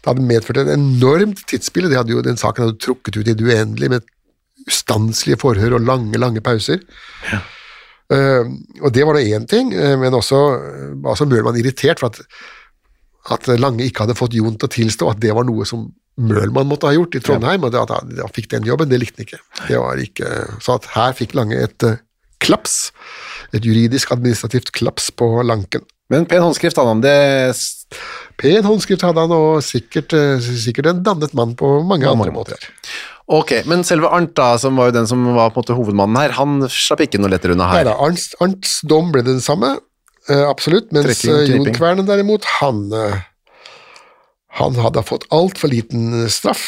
Speaker 3: det hadde medført en enormt tidsspille. Det hadde jo, den saken hadde jo trukket ut i det uendelige med ustanselige forhør og lange, lange pauser. Eh, og det var da én ting, eh, men også eh, var så Møhlmann irritert for at, at Lange ikke hadde fått Jon til å tilstå at det var noe som Møhlmann måtte ha gjort i Trondheim, og det at han, han fikk den jobben, det likte han ikke. Det var ikke. Så at her fikk Lange et eh, klaps, et juridisk administrativt klaps på lanken.
Speaker 2: Men pen håndskrift hadde han. Det s-
Speaker 3: Pen håndskrift hadde han, og sikkert, eh, sikkert en dannet mann på mange
Speaker 2: På mange
Speaker 3: andre
Speaker 2: måter.
Speaker 3: måter.
Speaker 2: Ok, men selve Arnt, da, som var jo den som var på en måte hovedmannen her, han slapp ikke noe lettere unna her.
Speaker 3: Neida, Arnts, Arnts dom ble den samme, eh, absolutt, mens
Speaker 2: Trekking,
Speaker 3: eh, Jon
Speaker 2: kniping.
Speaker 3: Kverne derimot, han, eh, han hadde fått altfor liten eh, straff,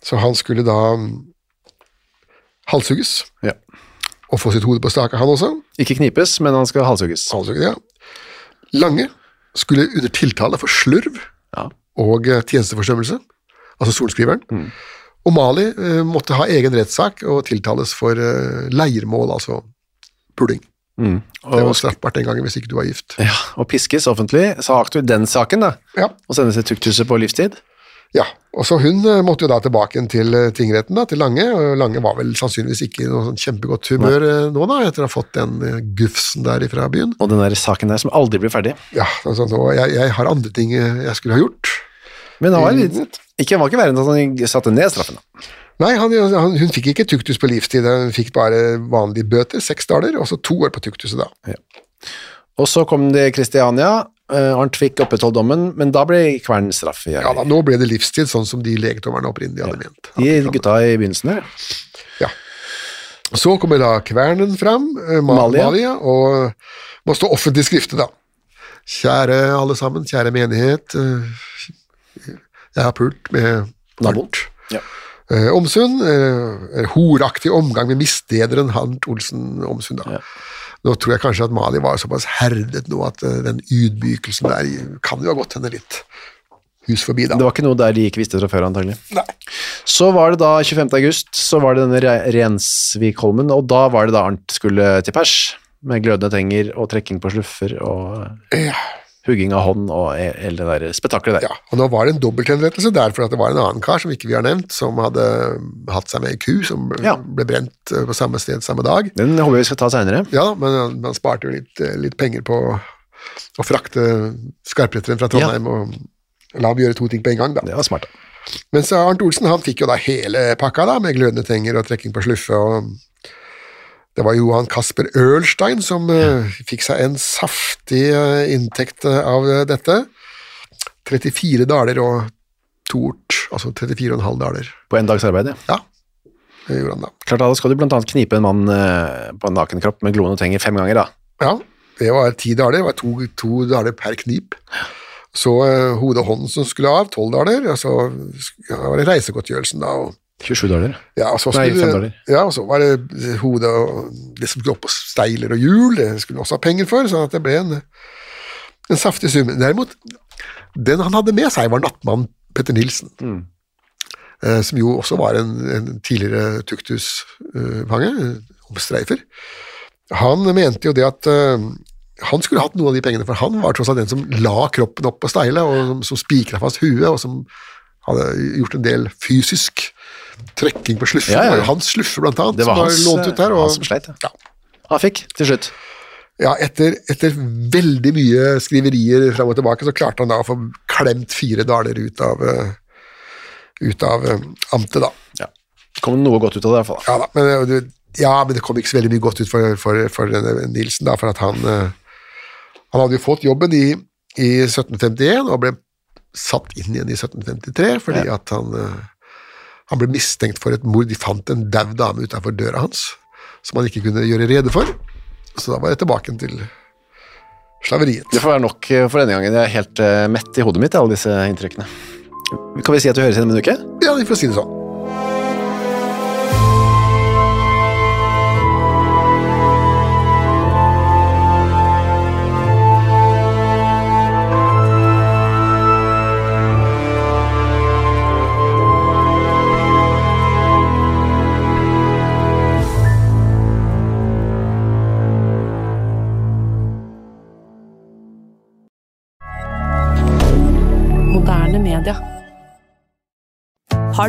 Speaker 3: så han skulle da mm, halshugges
Speaker 2: Ja.
Speaker 3: og få sitt hode på staka, han også.
Speaker 2: Ikke knipes, men han skal halshugges.
Speaker 3: Halshugget, ja. Lange skulle under tiltale for slurv
Speaker 2: Ja.
Speaker 3: og eh, tjenesteforsømmelse, altså sorenskriveren.
Speaker 2: Mm.
Speaker 3: Og Mali eh, måtte ha egen rettssak og tiltales for eh, leirmål, altså puling. Det
Speaker 2: Og,
Speaker 3: var straffbart den gangen hvis ikke du var gift.
Speaker 2: ja, og piskes offentlig. Så har aktu den saken, da.
Speaker 3: Ja,
Speaker 2: Og sendes til tukthuset på livstid.
Speaker 3: ja. og så Hun eh, måtte jo da tilbake igjen til eh, tingretten, da, til Lange. og Lange var vel sannsynligvis ikke i noe sånn kjempegodt humør eh, nå, da, etter å ha fått den eh, gufsen der fra byen.
Speaker 2: Og den der saken der som aldri blir ferdig.
Speaker 3: Ja, altså, nå, jeg, jeg har andre ting eh, jeg skulle ha gjort.
Speaker 2: Men han var,
Speaker 3: Mm.
Speaker 2: litt, ikke, han var ikke verre enn at han satte ned straffen. da.
Speaker 3: Nei, han, han, hun fikk ikke tuktus på livstid, hun fikk bare vanlige bøter, seks daler, og så to år på tuktuset da.
Speaker 2: Og så kom det Kristiania. eh, Arnt fikk opprettholdt dommen, men da ble Kvern straff. i-
Speaker 3: Ja da, Nå ble det livstid, sånn som de legdommerne opprinnelig hadde ment.
Speaker 2: De gutta i begynnelsen der.
Speaker 3: Så kommer da kvernen fram, eh, Ma-
Speaker 2: Malia.
Speaker 3: Malia, og eh, må stå offentlig skrifte da. Kjære alle sammen, kjære menighet, eh, jeg har pult med
Speaker 2: Naboen.
Speaker 3: Arnt.
Speaker 2: Ja.
Speaker 3: Eh, Omsund, eh, horaktig omgang med misstederen Hant Olsen Omsund. Da. Nå tror jeg kanskje at Mali var såpass herdet nå at eh, den ydmykelsen der kan jo ha gått henne litt hus forbi, da.
Speaker 2: Det var ikke noe der de ikke visste fra før, antagelig.
Speaker 3: Nei.
Speaker 2: Så var det da 25. august, så var det denne Re- Rensvikholmen, og da var det da Arnt skulle til pers, med glødende tenger og trekking på sluffer og hugging av hånd og e- hele det der spetakkelet der.
Speaker 3: Ja, og nå var det en dobbelthenrettelse der, for at det var en annen kar som ikke vi har nevnt, som hadde eh, hatt seg med ei ku, som ble,
Speaker 2: Ja.
Speaker 3: ble brent eh, på samme sted samme dag.
Speaker 2: Den håper jeg vi skal ta senere.
Speaker 3: Ja, men han- man sparte jo litt, eh, litt penger på å frakte skarpretteren fra Trondheim og la ham gjøre to ting på en gang, da.
Speaker 2: Det var smart. da.
Speaker 3: Mens Arnt Olsen han fikk jo da hele pakka da, med glødende tenger og trekking på sluffe. og Det var Johan Kasper Ørnstein som eh, fikk seg en saftig eh, inntekt eh, av eh, dette. 34 daler og to ort, altså 34,5 daler.
Speaker 2: På en dags arbeid, ja.
Speaker 3: Ja, det gjorde han da.
Speaker 2: Klart da, da skal du blant annet knipe en mann eh, på en naken kropp med gloende tenger fem ganger da.
Speaker 3: Ja, det var ti daler, det var to, to daler per knip. Så eh, hode og hånd som skulle av, tolv daler, og så sk- ja, var det reisegodtgjørelsen da, og
Speaker 2: 27 daler.
Speaker 3: Ja, og så,
Speaker 2: Nei,
Speaker 3: skulle,
Speaker 2: fem daler.
Speaker 3: ja, og så var det hodet og det som skulle opp på steiler og hjul, det skulle han også ha penger for, sånn at det ble en, en saftig sum. Derimot, den han hadde med seg, var nattmann Petter Nilsen, eh, som jo også var en, en tidligere tukthusfange, eh, omstreifer. Han mente jo det at eh, han skulle hatt noen av de pengene, for han var tross alt den som la kroppen opp på steile, og som, som spikra fast huet, og som hadde gjort en del fysisk trekking på sluffer.
Speaker 2: Ja, ja, ja.
Speaker 3: Det var jo Hans sluffer, blant annet,
Speaker 2: Det var
Speaker 3: som var
Speaker 2: hans,
Speaker 3: lånt ut der.
Speaker 2: eh,
Speaker 3: Og,
Speaker 2: han som sleit, ja.
Speaker 3: ja.
Speaker 2: Han fikk, til slutt.
Speaker 3: Ja, etter, etter veldig mye skriverier fram og tilbake, så klarte han da å få klemt fire daler ut av, eh, ut av eh, amtet, da.
Speaker 2: Ja. Det kom noe godt ut av det, i hvert fall.
Speaker 3: Ja, da, men, eh, du, ja, men det kom ikke så veldig mye godt ut for, for, for denne Nilsen, da, for at han eh, Han hadde jo fått jobben i, i 1751 og ble satt inn igjen i 1753 fordi at han eh, han ble mistenkt for et mord. De fant en dau dame utenfor døra hans som han ikke kunne gjøre rede for. Så da var jeg tilbake til slaveriet.
Speaker 2: Det får være nok eh, for denne gangen. Jeg er helt eh, mett i hodet mitt, alle disse inntrykkene. Kan vi si at vi høres igjen om en uke?
Speaker 3: Ja, for å si det sånn.
Speaker 4: Moderne media.
Speaker 5: Har